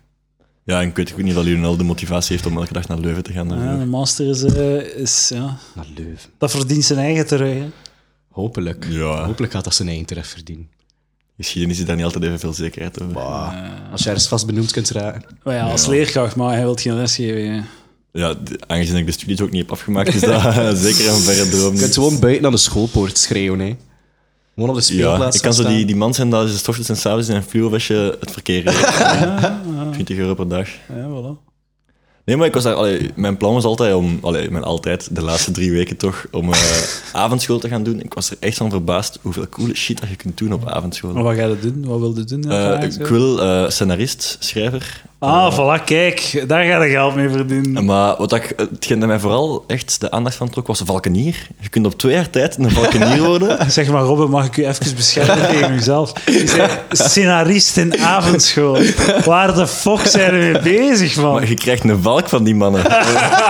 A: Ja, en ik weet ook niet dat Lionel de motivatie heeft om elke dag naar Leuven te gaan.
B: Ja,
A: daarvoor.
B: de master is, eh, is ja,
C: Naar Leuven.
B: dat verdient zijn eigen terug. hè.
C: Hopelijk.
A: Ja.
C: Hopelijk gaat dat zijn eigen terecht verdienen.
A: Geschiedenis is daar niet altijd even veel zekerheid over.
C: Als jij ergens vast benoemd kunt raken.
B: Maar Oh ja, als leerkracht, maar hij wil geen les geven. hè.
A: Ja, d- aangezien ik de studies ook niet heb afgemaakt, is dat
B: (laughs)
A: (laughs) zeker een verre droom.
C: Je kunt gewoon buiten aan de schoolpoort schreeuwen, hè. Gewoon op
A: Ja,
C: de speelplaats
A: ik kan zo
C: gaan
A: die,
C: staan.
A: die man zijn dat ze ochtends en s'avonds in een fluovestje het verkeer rijdt. 20 euro per dag.
B: Ja, voilà.
A: Nee, maar ik was daar, allee, mijn plan was altijd om, allee, mijn altijd, de laatste drie weken toch, om eh, avondschool te gaan doen. Ik was er echt van verbaasd hoeveel coole shit dat je kunt doen op avondschool.
B: Maar wat ga je dat doen? Wat wil je doen?
A: Eh,
B: vandaag, Oh, zo?
A: ik wil eh, scenarist, schrijver.
B: ah, voilà, kijk. Daar ga je geld mee verdienen.
A: Maar wat ik, hetgeen dat mij vooral echt de aandacht van trok, was een valkenier. Je kunt op twee jaar tijd een valkenier worden.
B: Zeg maar, Robin, mag ik u even
A: (laughs)
B: beschermen tegen uzelf? Je zei, scenarist in avondschool. Waar de fuck zijn we mee bezig, man?
A: Maar je krijgt een valk van die mannen. (laughs)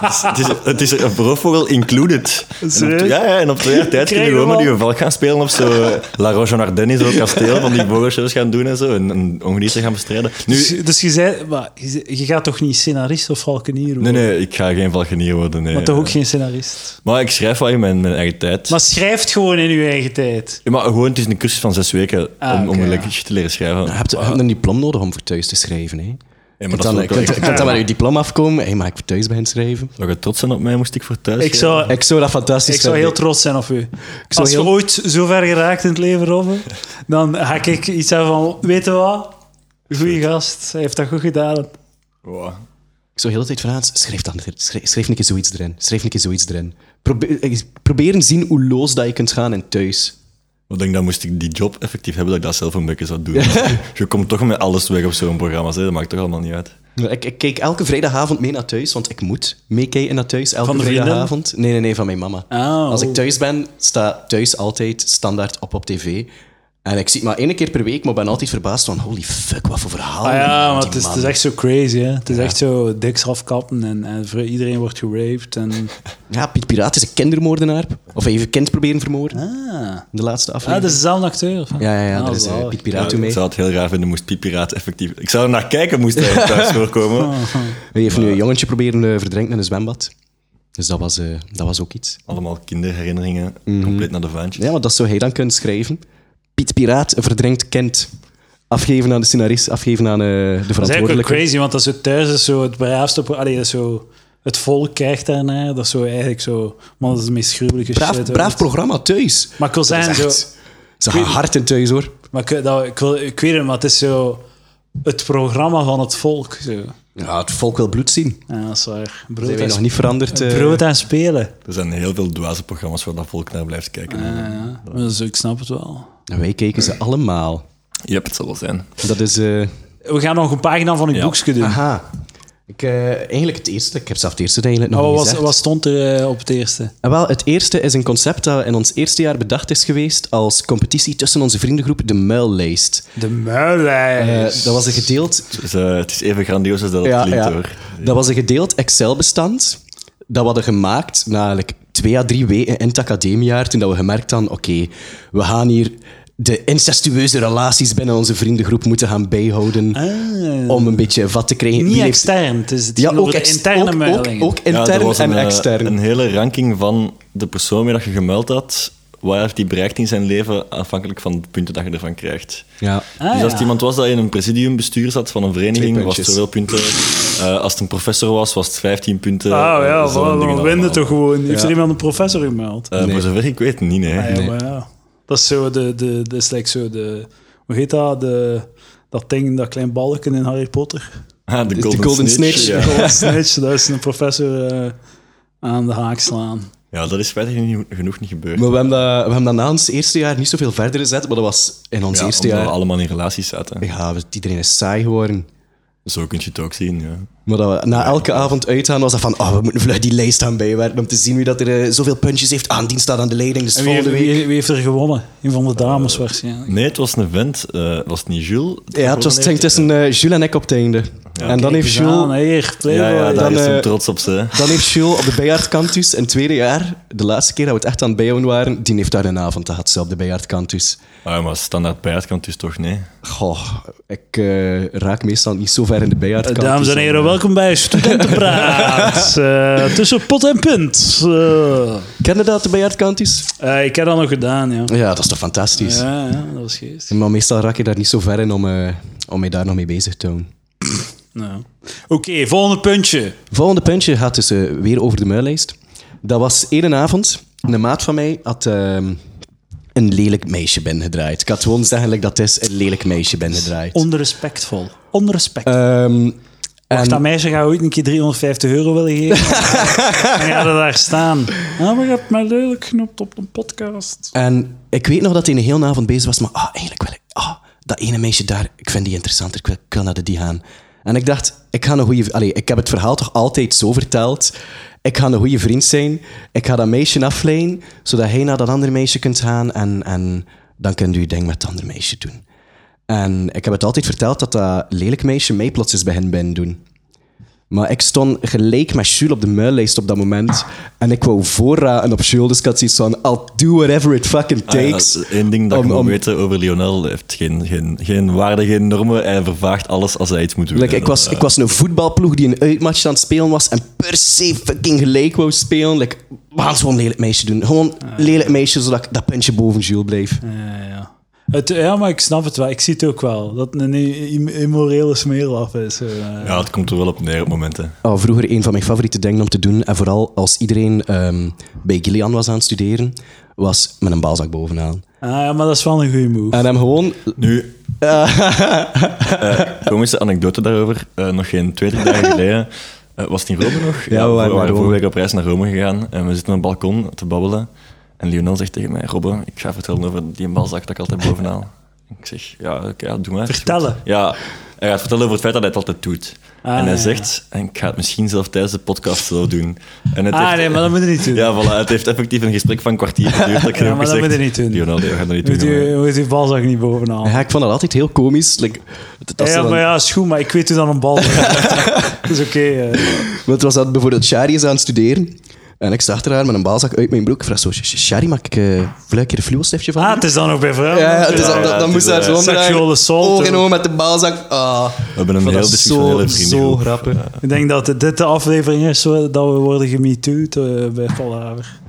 A: Dus het, is, het is een roofvogel included. En op
B: Serieus?
A: twee- ja, ja, en op twee jaar tijd kun je
B: Krijgen
A: gewoon
B: we
A: met
B: al-
A: je valk gaan spelen of zo. eh, La Roche en Ardennes, zo'n kasteel, van die vogelshows gaan doen en zo. En, en ongedierte gaan bestrijden. Nu,
B: dus, dus je zei, maar je, zei- je gaat toch niet scenarist of valkenier worden?
A: nee, nee, ik ga geen valkenier worden. Nee.
B: Maar toch ook geen scenarist.
A: Maar ik schrijf wel in mijn, mijn eigen tijd.
B: Maar
A: Maar,
B: schrijft gewoon in uw eigen tijd.
A: maar gewoon, het is een cursus van zes weken
B: Ah,
A: om, om
B: oké,
A: een
B: ja.
A: lekkertje te leren schrijven.
C: Je hebt, je hebt een diploma nodig om voor thuis te schrijven, hè.
A: Ja,
C: Je
A: maar dat
C: kunt dan,
A: is ook
C: je
A: wel-
C: kunt, je
A: ik-
C: kunt dan met je diploma afkomen. Hé, maar ik voor thuis ben schrijven.
A: Zou je trots zijn op mij, moest ik voor thuis
B: Ik
A: schrijven?
B: zou,
C: Ik zou dat fantastisch
B: ik zou heel
C: vinden.
B: trots zijn op u.
C: zou
B: Als je
C: heel-
B: ooit zo ver geraakt in het leven, Robin, dan ga (laughs) ik iets hebben van, weet je wat? Goeie gast, hij heeft dat goed gedaan.
A: Wow.
C: Ik zou heel de tijd van Hans, schrijf, dan, schrijf, schrijf een keer zoiets erin. Schrijf een keer zoiets erin. Probeer, eh, probeer en zien hoe los dat je kunt gaan in thuis.
A: Ik denk, dan moest ik die job effectief hebben, dat ik dat zelf een beetje zou doen. je komt toch met alles weg op zo'n programma, hè? dat maakt toch allemaal niet uit.
C: Ik, ik keek elke vrijdagavond mee naar thuis, want ik moet meekijken naar thuis. Elke
B: Van de vrienden?
C: vrijdagavond. Nee, nee, nee, van mijn mama.
B: Oh.
C: Als ik thuis ben, staat thuis altijd standaard op op tv. En ik zie het maar één keer per week, maar ben altijd verbaasd van holy fuck, wat voor verhaal.
B: Ah ja, maar
C: want
B: het is, het is echt zo crazy, hè. Het is echt zo diks afkappen en, en voor iedereen wordt geraped en...
C: Ja, Piet Piraat is een kindermoordenaar. Of hij heeft een kind proberen vermoorden
B: Ah,
C: in de laatste
B: dat
C: aflevering.
B: is dezelfde acteur.
C: Ja, ja, ja,
B: Ah,
C: daar is eh,
B: zalig.
C: Piet
A: Ja,
C: Piraat toen
A: ik
C: mee.
A: zou het heel raar vinden, moest Piepiraat effectief... Ik zou er naar kijken, moest hij
C: (laughs)
A: thuis voorkomen.
C: Hij heeft nu een jongetje proberen eh, verdrinken in een zwembad. Dus dat was, eh, dat was ook iets.
A: Allemaal kinderherinneringen,
C: Mhm.
A: compleet naar de vaantjes.
C: Ja, want dat zou hij dan kunnen schrijven. Piet Piraat verdrinkt kind. Afgeven aan de scenarist, afgeven aan eh, de
B: Dat is eigenlijk ook
C: verantwoordelijke.
B: crazy, want dat zo thuis is zo het braafste... pro- Allee, dat is zo... Het volk kijkt daarnaar, dat is zo eigenlijk zo... Man, dat is de meest gruwelijke shit.
C: Braaf,
B: ooit.
C: braaf programma thuis.
B: Maar ik wil
C: Dat is
B: zeggen,
C: echt-
B: zo...
C: Ze gaan hard in thuis, hoor.
B: Maar ik, dat, ik, wil, ik weet het, maar het is zo het programma van het volk. Zo.
C: Ja, het volk wil bloed zien.
B: Ja, dat is waar.
C: Dat
B: Brood
C: hebben
B: en,
C: we nog niet veranderd. eh.
B: brood en spelen.
A: Er zijn heel veel dwaze programma's waar dat volk naar blijft kijken.
B: Ja, maar dus ik snap het wel.
C: En wij kijken ze allemaal.
A: Yep, het zal wel zijn.
C: Dat is... eh,
B: We gaan nog een pagina van een
A: Ja.
B: boekje doen.
C: Aha. Ik, eh, eigenlijk het eerste. Ik heb zelf het eerste eigenlijk nog
B: Maar
C: niet
B: wat, Oh, was-
C: gezegd.
B: wat stond er eh, op het eerste?
C: En wel, het eerste is een concept dat in ons eerste jaar bedacht is geweest als competitie tussen onze vriendengroep, de Muillijst.
B: De
C: Eh,
B: muilijst.
C: dat was een gedeeld
A: Dus, eh, het is even grandioos als dat het klinkt, hoor.
C: Dat was een gedeeld Excel-bestand dat we hadden gemaakt na eigenlijk twee à drie weken in het academiejaar, toen dat we gemerkt hadden, oké, we gaan hier de incestueuze relaties binnen onze vriendengroep moeten gaan bijhouden om een beetje vat te krijgen.
B: Niet
C: Wie Oh, heeft-
B: Ah, extern, het is het
C: Ja,
B: ging over
C: ook,
B: de
C: ex-
B: interne
C: ook, ook,
B: muilingen.
C: ook
A: Ja, er
C: intern
A: was
C: en
A: eh,
C: extern.
A: Een hele ranking van de persoon mee dat je gemuild had, waar heeft hij bereikt in zijn leven, afhankelijk van de punten dat je ervan krijgt.
C: ja.
B: Ah,
A: dus als het
B: ja.
A: iemand was dat in een presidiumbestuur zat van een vereniging,
C: Twee
A: was
C: puntjes.
A: het zoveel punten. Eh, als het een professor was, was het 15 punten.
B: Ah
A: Eh,
B: ja,
A: zo'n dingen
B: we
A: allemaal.
B: winnen toch gewoon. Heeft er iemand een professor gemeld?
A: Eh, Voor zover ik weet, niet, nee.
B: Ah, ja, maar ja. Dat is zo de, de, dat is like zo de, hoe heet dat, de, dat ding, dat klein balken in Harry Potter.
A: (laughs) Ah, de
C: de
A: Golden,
C: Golden
A: Snitch.
C: Snitch.
A: Ja.
B: (laughs) Dat Snitch, dat is een professor eh, aan de haak slaan.
A: Ja, dat is spijtig niet- genoeg niet gebeurd.
C: Maar we hebben, dat, we hebben dat na ons eerste jaar niet zoveel verder gezet, maar dat was in ons
A: ja,
C: eerste
A: omdat
C: jaar...
A: we allemaal in relaties zaten.
C: Ja, we- iedereen is saai geworden.
A: Zo kun je het ook zien, ja.
C: Maar dat we na elke avond uitgaan was dat van, oh, we moeten vlug die lijst gaan bijwerken om te zien wie dat er eh, zoveel puntjes heeft. Ah, en die staat aan de leiding, dus
B: En wie,
C: volgende
B: heeft-
C: week.
B: wie, wie heeft er gewonnen? Een van de dames waarschijnlijk.
A: Nee, het was een vent. eh, was het niet Jules?
C: Ja, het was het ging tussen eh, Jules en ik op het einde. en dan heeft,
B: Kijk eens aan,
C: Jules,
B: hier,
A: Ja,
B: Playboy.
A: ja, daar
C: Dan,
A: is
C: eh,
A: hem trots op, ze.
C: dan heeft Jules op de bijaardkantus in het tweede jaar, de laatste keer dat we het echt aan het bijhouden waren, die heeft daar een avond gehad, ze op de bijaardkantus.
A: Ah, maar standaard bijaardkant is toch nee.
C: Goh, ik eh, raak meestal niet zo ver in de bijaardkantus.
B: Eh, Dames en heren, welkom bij Studentenpraat. (laughs) Eh, tussen pot en punt. Eh,
C: Ken je dat, de bijaardkantus?
B: eh, ik heb dat nog gedaan, ja.
C: Ja, dat is toch fantastisch.
B: Ja, ja, dat was geest.
C: Maar meestal raak je daar niet zo ver in om, eh, om mij daar nog mee bezig te houden.
B: Nou. Oké, volgende puntje.
C: Volgende puntje gaat dus eh, weer over de muillijst. Dat was één avond. Een maat van mij had ehm, een lelijk meisje binnengedraaid. Ik had gewoon zeggen like dat het is, een lelijk meisje binnengedraaid.
B: Onrespectvol. Onrespectvol.
C: Ehm, en-
B: Wacht, dat meisje gaat ooit een keer 350 euro willen
C: (laughs)
B: geven. en gaat er daar staan. Ja, maar je hebt mij lelijk genoemd op een podcast.
C: En ik weet nog dat hij een hele avond bezig was, maar ah, eigenlijk wil ik... Ah, dat ene meisje daar, ik vind die interessanter, ik wil, ik wil naar de die gaan. En ik dacht, ik ga een goede... Allee, ik heb het verhaal toch altijd zo verteld. Ik ga een goede vriend zijn. Ik ga dat meisje afleiden, zodat hij naar dat andere meisje kunt gaan. En, en dan kunt u je ding met het andere meisje doen. En ik heb het altijd verteld dat dat lelijk meisje mij plots is bij hen ben doen. Maar ik stond gelijk met Jules op de muillijst op dat moment. En ik wou voorraden op Jules, dus ik had zoiets van... I'll do whatever it fucking takes.
A: Eén ding Ah, dat
C: Om-
A: ik moet
C: om-
A: weten over Lionel, hij heeft geen, geen, geen waarde, geen normen. Hij vervaagt alles als hij iets moet doen.
C: Like,
A: En
C: ik, was,
A: dat,
C: ik was een voetbalploeg die een uitmatch aan het spelen was en per se fucking gelijk wou spelen. Like, we gaan zo'n lelijk meisje doen. Gewoon lelijk meisje, zodat ik dat puntje boven Jules bleef.
B: Ja, ja. Het, ja, maar ik snap het wel. Ik zie het ook wel. Dat het een i- im- immorele smeerlap is. eh.
A: eh, ja, het komt er wel op neer op momenten.
C: Oh, vroeger een van mijn favoriete dingen om te doen, en vooral als iedereen ehm, bij Gillian was aan het studeren, was met een balzak bovenaan.
B: Ah, ja, maar dat is wel een goede move.
C: En hem gewoon...
A: (laughs) Nu, eh, komische anekdote daarover. Eh, nog geen twee, drie dagen geleden eh, was het in Rome nog.
C: we waren naar Rome.
A: vorige week op reis naar Rome gegaan en we zitten op het balkon te babbelen. En Lionel zegt tegen mij, Robbe, ik ga vertellen over die balzak dat ik altijd bovenhaal. Ik zeg, ja, oké, ja, doe maar. is goed."
B: Vertellen? Ah,
A: Ja, hij gaat vertellen over het feit dat hij het altijd doet. en hij
B: ja.
A: zegt, en ik ga het misschien zelf tijdens de podcast zo doen. En het
B: ah,
A: heeft-
B: nee, maar dat moet je niet doen.
A: (laughs) Ja, voilà, het heeft effectief een gesprek van een kwartier geduurd. Dat ik
B: (laughs) Ja,
A: heb
B: maar dat
A: gezegd,
B: moet je niet doen.
A: Lionel, nee, we gaan dat niet doen.
B: Moet
A: jongen."
B: je, moet je balzak niet bovenaan.
C: Ja, ik vond dat altijd heel komisch. Like, dat ze
B: ja,
C: dan-
B: maar ja, is goed, maar ik weet hoe dan een bal werkt.
C: (laughs)
B: (laughs) Dat is oké. eh.
C: Want het was dat bijvoorbeeld Shari is aan het studeren. En ik zag haar met een balzak uit mijn broek. Ik vraag zo, "Sh- Shari, mag ik eh vleukje de fluwelstiftje van?
B: Ah,
C: doen?"
B: het is dan ook bij vrouwen.
C: ja, ja, het
A: ja,
C: is dat,
A: ja,
C: dat,
A: het
C: moest
A: is,
C: haar
A: eh,
C: zo omdraaien.
B: seksuele assault, eh.
C: Oog in
B: hoor.
C: oog met de balzak. Ah,
A: We hebben een
C: ik vond
A: heel
C: dat
A: dysfunctionele
C: zo,
A: vriendengroep.
C: zo grappig.
B: Ik denk dat dit de aflevering is waar- dat we worden gemetoed eh, bij Palaver.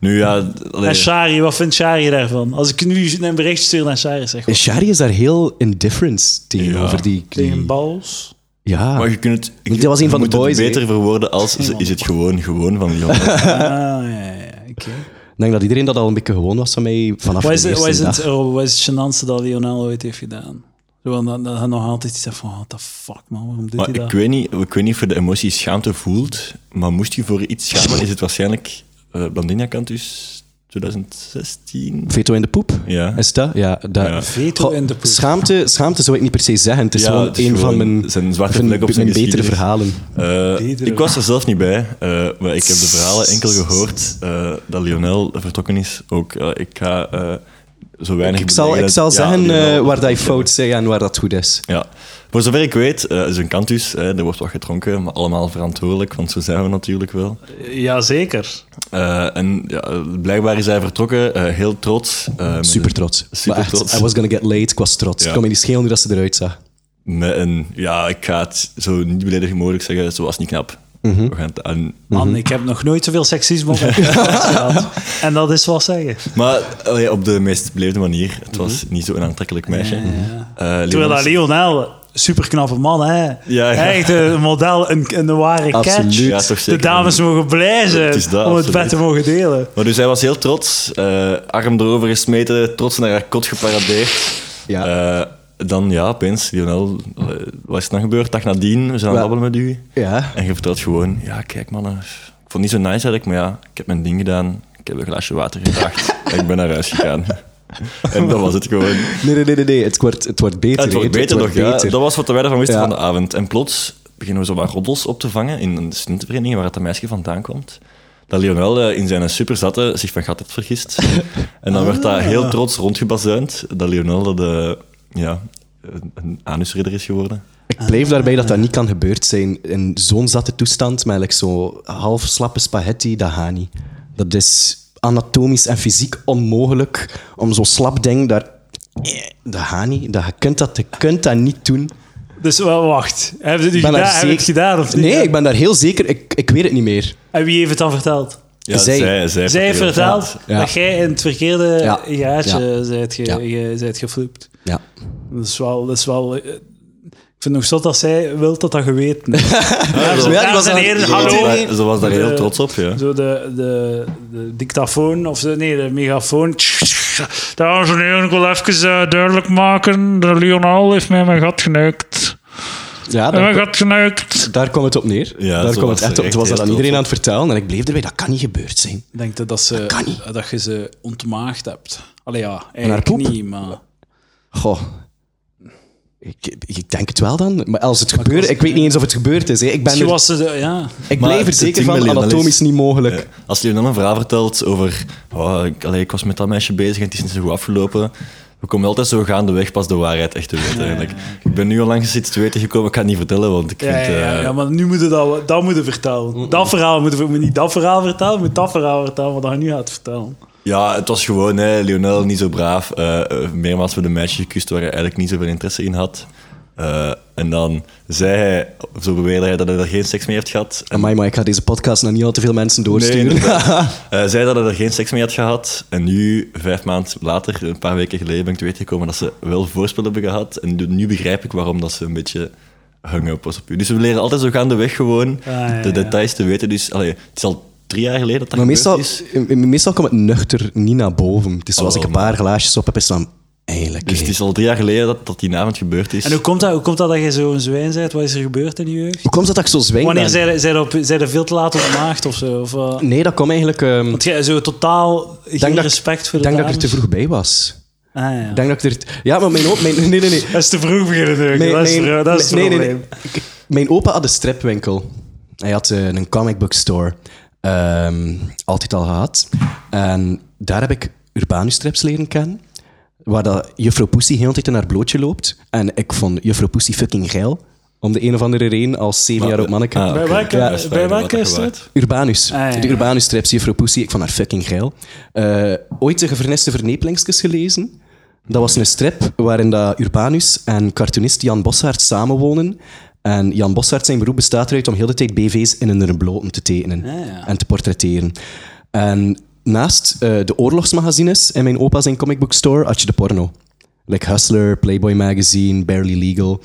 A: Nu ja, d- allee,
B: En Shari, wat vindt Shari daarvan? Als ik nu een bericht stuur naar Shari, zeg
C: En Shari is daar heel indifferent tegenover
A: Ja.
C: die... die-
B: tegen bals.
C: ja.
A: maar je kunt het,
C: Want die was een
A: je
C: van de
A: moet het
C: boys, hè?
A: beter verwoorden als is het gewoon gewoon van Lionel.
B: Ah, ja, ja, ja, oké.
C: Ik denk dat iedereen dat al een beetje gewoon was van mij vanaf
B: Wat is,
C: de
B: het-
C: eerste
B: wat is het,
C: dag.
B: oh, wat is het gênantste dat Lionel ooit heeft gedaan? Zo, want dan, dan, dan nog altijd iets van, what the fuck man, waarom doet
A: Maar
B: hij dat?
A: ik weet, niet, ik weet niet of je de emotie schaamte voelt, maar moest je voor iets schamen, is het waarschijnlijk eh Blandina Cantus 2016.
C: Veto in de poep?
A: Ja.
C: Is dat? Ja, dat.
A: Ja.
B: Veto
C: Goh,
B: in de poep.
C: Schaamte, schaamte zou ik niet per se zeggen. Het is
A: Ja,
C: gewoon
A: het is
C: een van
A: gewoon
C: mijn,
A: zijn zwarte
C: van
A: vlek op zijn
C: mijn betere
A: geschiedenis.
C: verhalen.
A: Eh,
B: Betere
A: ik was er zelf niet bij, eh, maar ik heb de verhalen enkel gehoord eh, dat Lionel vertrokken is. Ook, eh, ik ga eh, zo weinig
C: Ik zal,
A: bedenken
C: ik zal
A: dat- ja,
C: zeggen
A: Lionel-
C: eh, waar dat je fout zegt en waar dat goed is.
A: Ja, voor zover ik weet, eh, is een kantus, hè, er wordt wat gedronken, maar allemaal verantwoordelijk, want zo zijn we natuurlijk wel.
B: Jazeker.
A: Eh, en ja, blijkbaar is hij vertrokken, eh, heel trots. eh, met
C: Super
A: een-
C: trots.
A: Super
C: maar echt,
A: trots.
C: I was gonna get late, ik was trots.
A: Ja.
C: Ik kon me niet schelen hoe dat ze eruit zag.
A: Met een, ja, ik ga het zo niet beledigend mogelijk zeggen, ze was niet knap. We gaan het aan.
B: Man, ik heb nog nooit zoveel seksisme op mijn
A: (laughs)
B: podcast gehad. En dat is wel zeggen.
A: Maar allee, op de meest beleefde manier. Het was niet zo'n aantrekkelijk meisje. Eh,
B: Terwijl dat
A: Leonardo-
B: Lionel, superknappe man, hè.
A: ja.
B: Echt een model, een, een ware catch.
C: Absoluut.
A: Ja, toch
B: De
A: zeker.
B: dames mogen blij zijn
A: Het is dat,
B: om het
A: absoluut.
B: bed te mogen delen.
A: Maar dus hij was heel trots, eh, arm erover gesmeten, trots naar haar kot geparadeerd.
C: Ja.
A: Eh, dan ja, opeens, Lionel, eh, wat is er dan gebeurd? Dag nadien, we zijn aan het
C: Wel-
A: babbelen met u.
C: Ja.
A: En je vertelt gewoon, ja kijk mannen, ik vond het niet zo nice eigenlijk, maar ja, ik heb mijn ding gedaan, ik heb een glaasje water
C: (laughs)
A: gevraagd en ik ben naar huis gegaan. en dat was het gewoon.
C: Nee, nee, nee, nee, nee. Het, wordt, het wordt beter.
A: Het wordt
C: hè.
A: beter nog, ja. Dat was wat wij ervan wisten
C: Ja.
A: van de avond. En plots beginnen we zo wat roddels op te vangen in een studentenvereniging waar het dat meisje vandaan komt. Dat Lionel eh, in zijn superzatte zich van gat had
C: (laughs)
A: vergist. en dan werd
C: Ah.
A: dat heel trots rondgebazuind dat Lionel dat, eh, ja, een, een anusridder is geworden.
C: Ik blijf daarbij dat dat niet kan gebeurd zijn. In zo'n zatte toestand, met like zo half slappe spaghetti, dat gaat niet. Dat is anatomisch en fysiek onmogelijk om zo'n slap ding daar... eh, Dat gaat niet. Dat, je, kunt dat, je kunt dat niet doen.
B: Dus wel, wacht. Hebben ze het, gedaan, hebben het gedaan of niet?
C: Nee, ik ben daar heel zeker... Ik, ik weet het niet meer.
B: En wie heeft het dan verteld?
A: Ja,
C: Zij-
B: Zij heeft verteld
C: Ja.
B: dat jij in het verkeerde
C: Ja.
B: jaartje
C: Ja.
B: zijt, ge,
C: Ja.
B: ge- zijt gefloept.
C: Ja.
B: Dat is wel... Dat is wel eh, ik vind het nog zot dat zij wil dat dat geweten is.
A: Ah, zo-
C: Ja, die
B: Dames
C: was
B: en
C: aan-
B: heren,
C: die
A: Ze was
B: hallo.
A: daar- Ze was daar heel
B: Eh,
A: trots op, ja.
B: Zo de, de, de dictafoon, of zo, nee, de megafoon. Dames en heren, ik wil even eh, duidelijk maken. De Lionel heeft mij in mijn gat geneukt.
C: Ja,
B: In mijn
C: daar,
B: gat geneukt.
C: daar kwam het op neer.
A: Ja, zo
C: daar kwam
A: was
C: het echt
A: ze
C: op. Het
A: echt
C: was dat
A: heel
C: aan iedereen
A: trots
C: aan het vertellen. En ik bleef erbij. Dat kan niet gebeurd zijn.
B: Ik denk dat, dat, ze,
C: kan niet.
B: dat je ze ontmaagd hebt. Allee ja,
C: haar
B: eigenlijk
C: poep?
B: niet, maar...
C: Goh. Ik, ik denk het wel dan. Maar als het gebeurt... Ik weet niet eens of het gebeurd is. hè. Ik, ben
B: Misschien
C: er,
B: was ze... de- ja.
C: ik
A: Maar
C: blijf er
A: het
C: zeker
A: ding met
C: van.
A: Lionel is-
C: Anatomisch niet mogelijk.
A: Ja. Als je dan een verhaal vertelt over. Oh, ik, allee, ik was met dat meisje bezig en het is niet zo goed afgelopen. We komen altijd zo gaandeweg pas de waarheid echt te weten. Eigenlijk. Ik ben nu al langs iets te weten gekomen, ik ga het niet vertellen, want ik
B: Ja,
A: vind.
B: ja, ja,
A: eh,
B: ja, maar nu moeten dat, we- dat moeten vertellen. Dat verhaal moeten we maar niet dat verhaal vertellen, maar dat verhaal vertellen wat hij nu gaat vertellen.
A: ja, het was gewoon, hè, Lionel niet zo braaf. eh, eh, meermaals met een meisje gekust waar hij eigenlijk niet zoveel interesse in had. Eh, en dan zei hij, of zo beweerde hij dat hij er geen seks mee heeft gehad. En
C: Amai, maar ik ga deze podcast naar niet al te veel mensen doorsturen. (laughs)
A: inderdaad. Eh, zei dat hij er geen seks mee had gehad. En nu, vijf maanden later, een paar weken geleden, ben ik te weten gekomen dat ze wel voorspel hebben gehad. En nu- nu begrijp ik waarom dat ze een beetje hang-up was op u. Dus we leren altijd zo gaandeweg gewoon
B: Ah, ja,
A: de
B: ja.
A: details te weten. Dus allee, het is al drie jaar geleden dat dat
C: maar
A: gebeurd
C: meestal,
A: is.
C: eh, eh, meestal komt het nuchter niet naar boven. Het is zoals
A: Oh,
C: ik een paar glaasjes op heb, is dan eigenlijk.
A: Dus
C: hé.
A: het is al drie jaar geleden dat, dat die avond gebeurd is.
B: En hoe komt dat, hoe komt dat dat je zo'n zwijn bent? Wat is er gebeurd in je jeugd?
C: Hoe komt het dat ik zo zwijg?
B: Wanneer
C: ben?
B: zijn zij op- zijn er veel te laat ontmaagd of zo? Of, eh,
C: Nee, dat kwam eigenlijk. ehm,
B: want jij zo totaal geen
C: denk dat ik-
B: respect voor
C: ik
B: de
C: denk dat ik er te
B: dames?
C: vroeg bij was.
B: Ah, ja.
C: Ik denk dat ik er. Ja, maar mijn opa. Mijn, nee, nee, nee.
B: Dat is te vroeg beginnen neuken,
C: Mijn,
B: dat is,
C: mijn-
B: te- dat is het
C: nee, nee,
B: probleem.
C: nee. Ik- Mijn opa had een stripwinkel. Hij had eh, een comic book store. Ehm, altijd al gehad. En daar heb ik Urbanus strips leren kennen. Waar dat juffrouw Poesie heel de tijd in haar blootje loopt. En ik vond juffrouw Poesie fucking geil. Om de een of andere reden als
A: Maar-
C: zevenjarig manneke.
A: Ah,
B: Bij
A: oké.
B: welke,
A: Ja, dat is
B: bij
A: waar,
B: welke
A: dat
B: is
A: gewaard.
B: dat?
C: Urbanus.
B: Ah, ja.
C: De Urbanus-strips, Juffrouw Poesie, ik vond haar fucking geil. Eh, ooit de geverniste vernepelingskus gelezen. Dat was een strip waarin dat Urbanus en cartoonist Jan Bossaert samenwonen. En Jan Bossaert, zijn beroep bestaat eruit om heel de tijd BV's in hun bloten te tekenen
B: Ah, ja.
C: en te portretteren. En naast eh, de oorlogsmagazines in mijn opa zijn comic book store had je de porno. Like Hustler, Playboy Magazine, Barely Legal.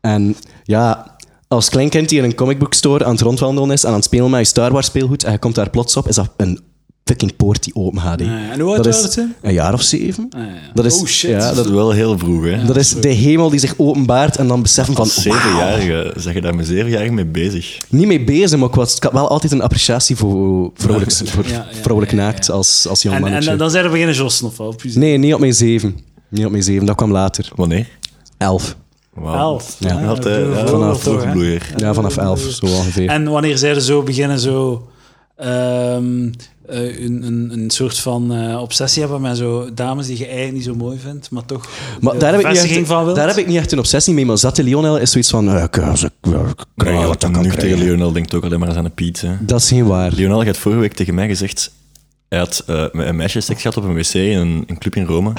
C: En ja, als klein kind die in een comic book store aan het rondwandelen is en aan het spelen met je Star Wars speelgoed en je komt daar plots op, is dat een fucking poort die open gaat. hè.
B: Ah, Ja, ja. En hoe oud
C: dat
B: zou
C: is
B: dat zijn?
C: Een jaar of zeven.
B: Ah, ja.
C: Dat is,
B: Oh, shit.
C: Ja,
A: Dat
C: dat,
A: is wel heel vroeg, hè?
C: dat is de hemel die zich openbaart en dan beseffen van...
A: Als zevenjarige, zeg je daar met zevenjarige mee bezig?
C: Niet mee bezig, maar ik, was, ik had wel altijd een appreciatie voor vrouwelijk, voor
B: Ja, ja,
C: vrouwelijk
B: ja, ja,
C: naakt
B: ja.
C: Als, als jong
B: En, en
C: mannetje.
B: dan- dan zijn er beginnen jossen of wel? op je zin.
C: Nee, niet op mijn zeven. Niet op mijn zeven, dat kwam later.
A: Wanneer?
C: Elf.
A: Wauw.
B: Elf.
C: Ja.
B: Ah,
A: Altijd, ja,
B: vroeg,
A: vanaf
B: toch, hè?
A: vroegbloeier.
C: Ja, vanaf elf, zo ongeveer.
B: En wanneer zij er zo beginnen zo ehm, eh, een, een, een soort van eh, obsessie hebben met zo dames die je eigenlijk niet zo mooi vindt, maar toch
C: Maar
B: de
C: daar heb, ik niet
B: bevestiging
C: echt,
B: van wilt.
C: daar heb ik niet echt een obsessie mee, maar Zatte Lionel is zoiets van... eh, ik, eh, ze- ik, eh, ik krijg
A: Maar
C: wat ik
A: een
C: kan
A: nuchtere
C: krijgen.
A: Lionel denkt ook alleen maar eens aan een Piet. Hè.
C: Dat is geen waar.
A: Lionel had vorige week tegen mij gezegd. Hij had eh, met een meisje seks gehad op een wc in een, een club in
C: (laughs)
A: Rome.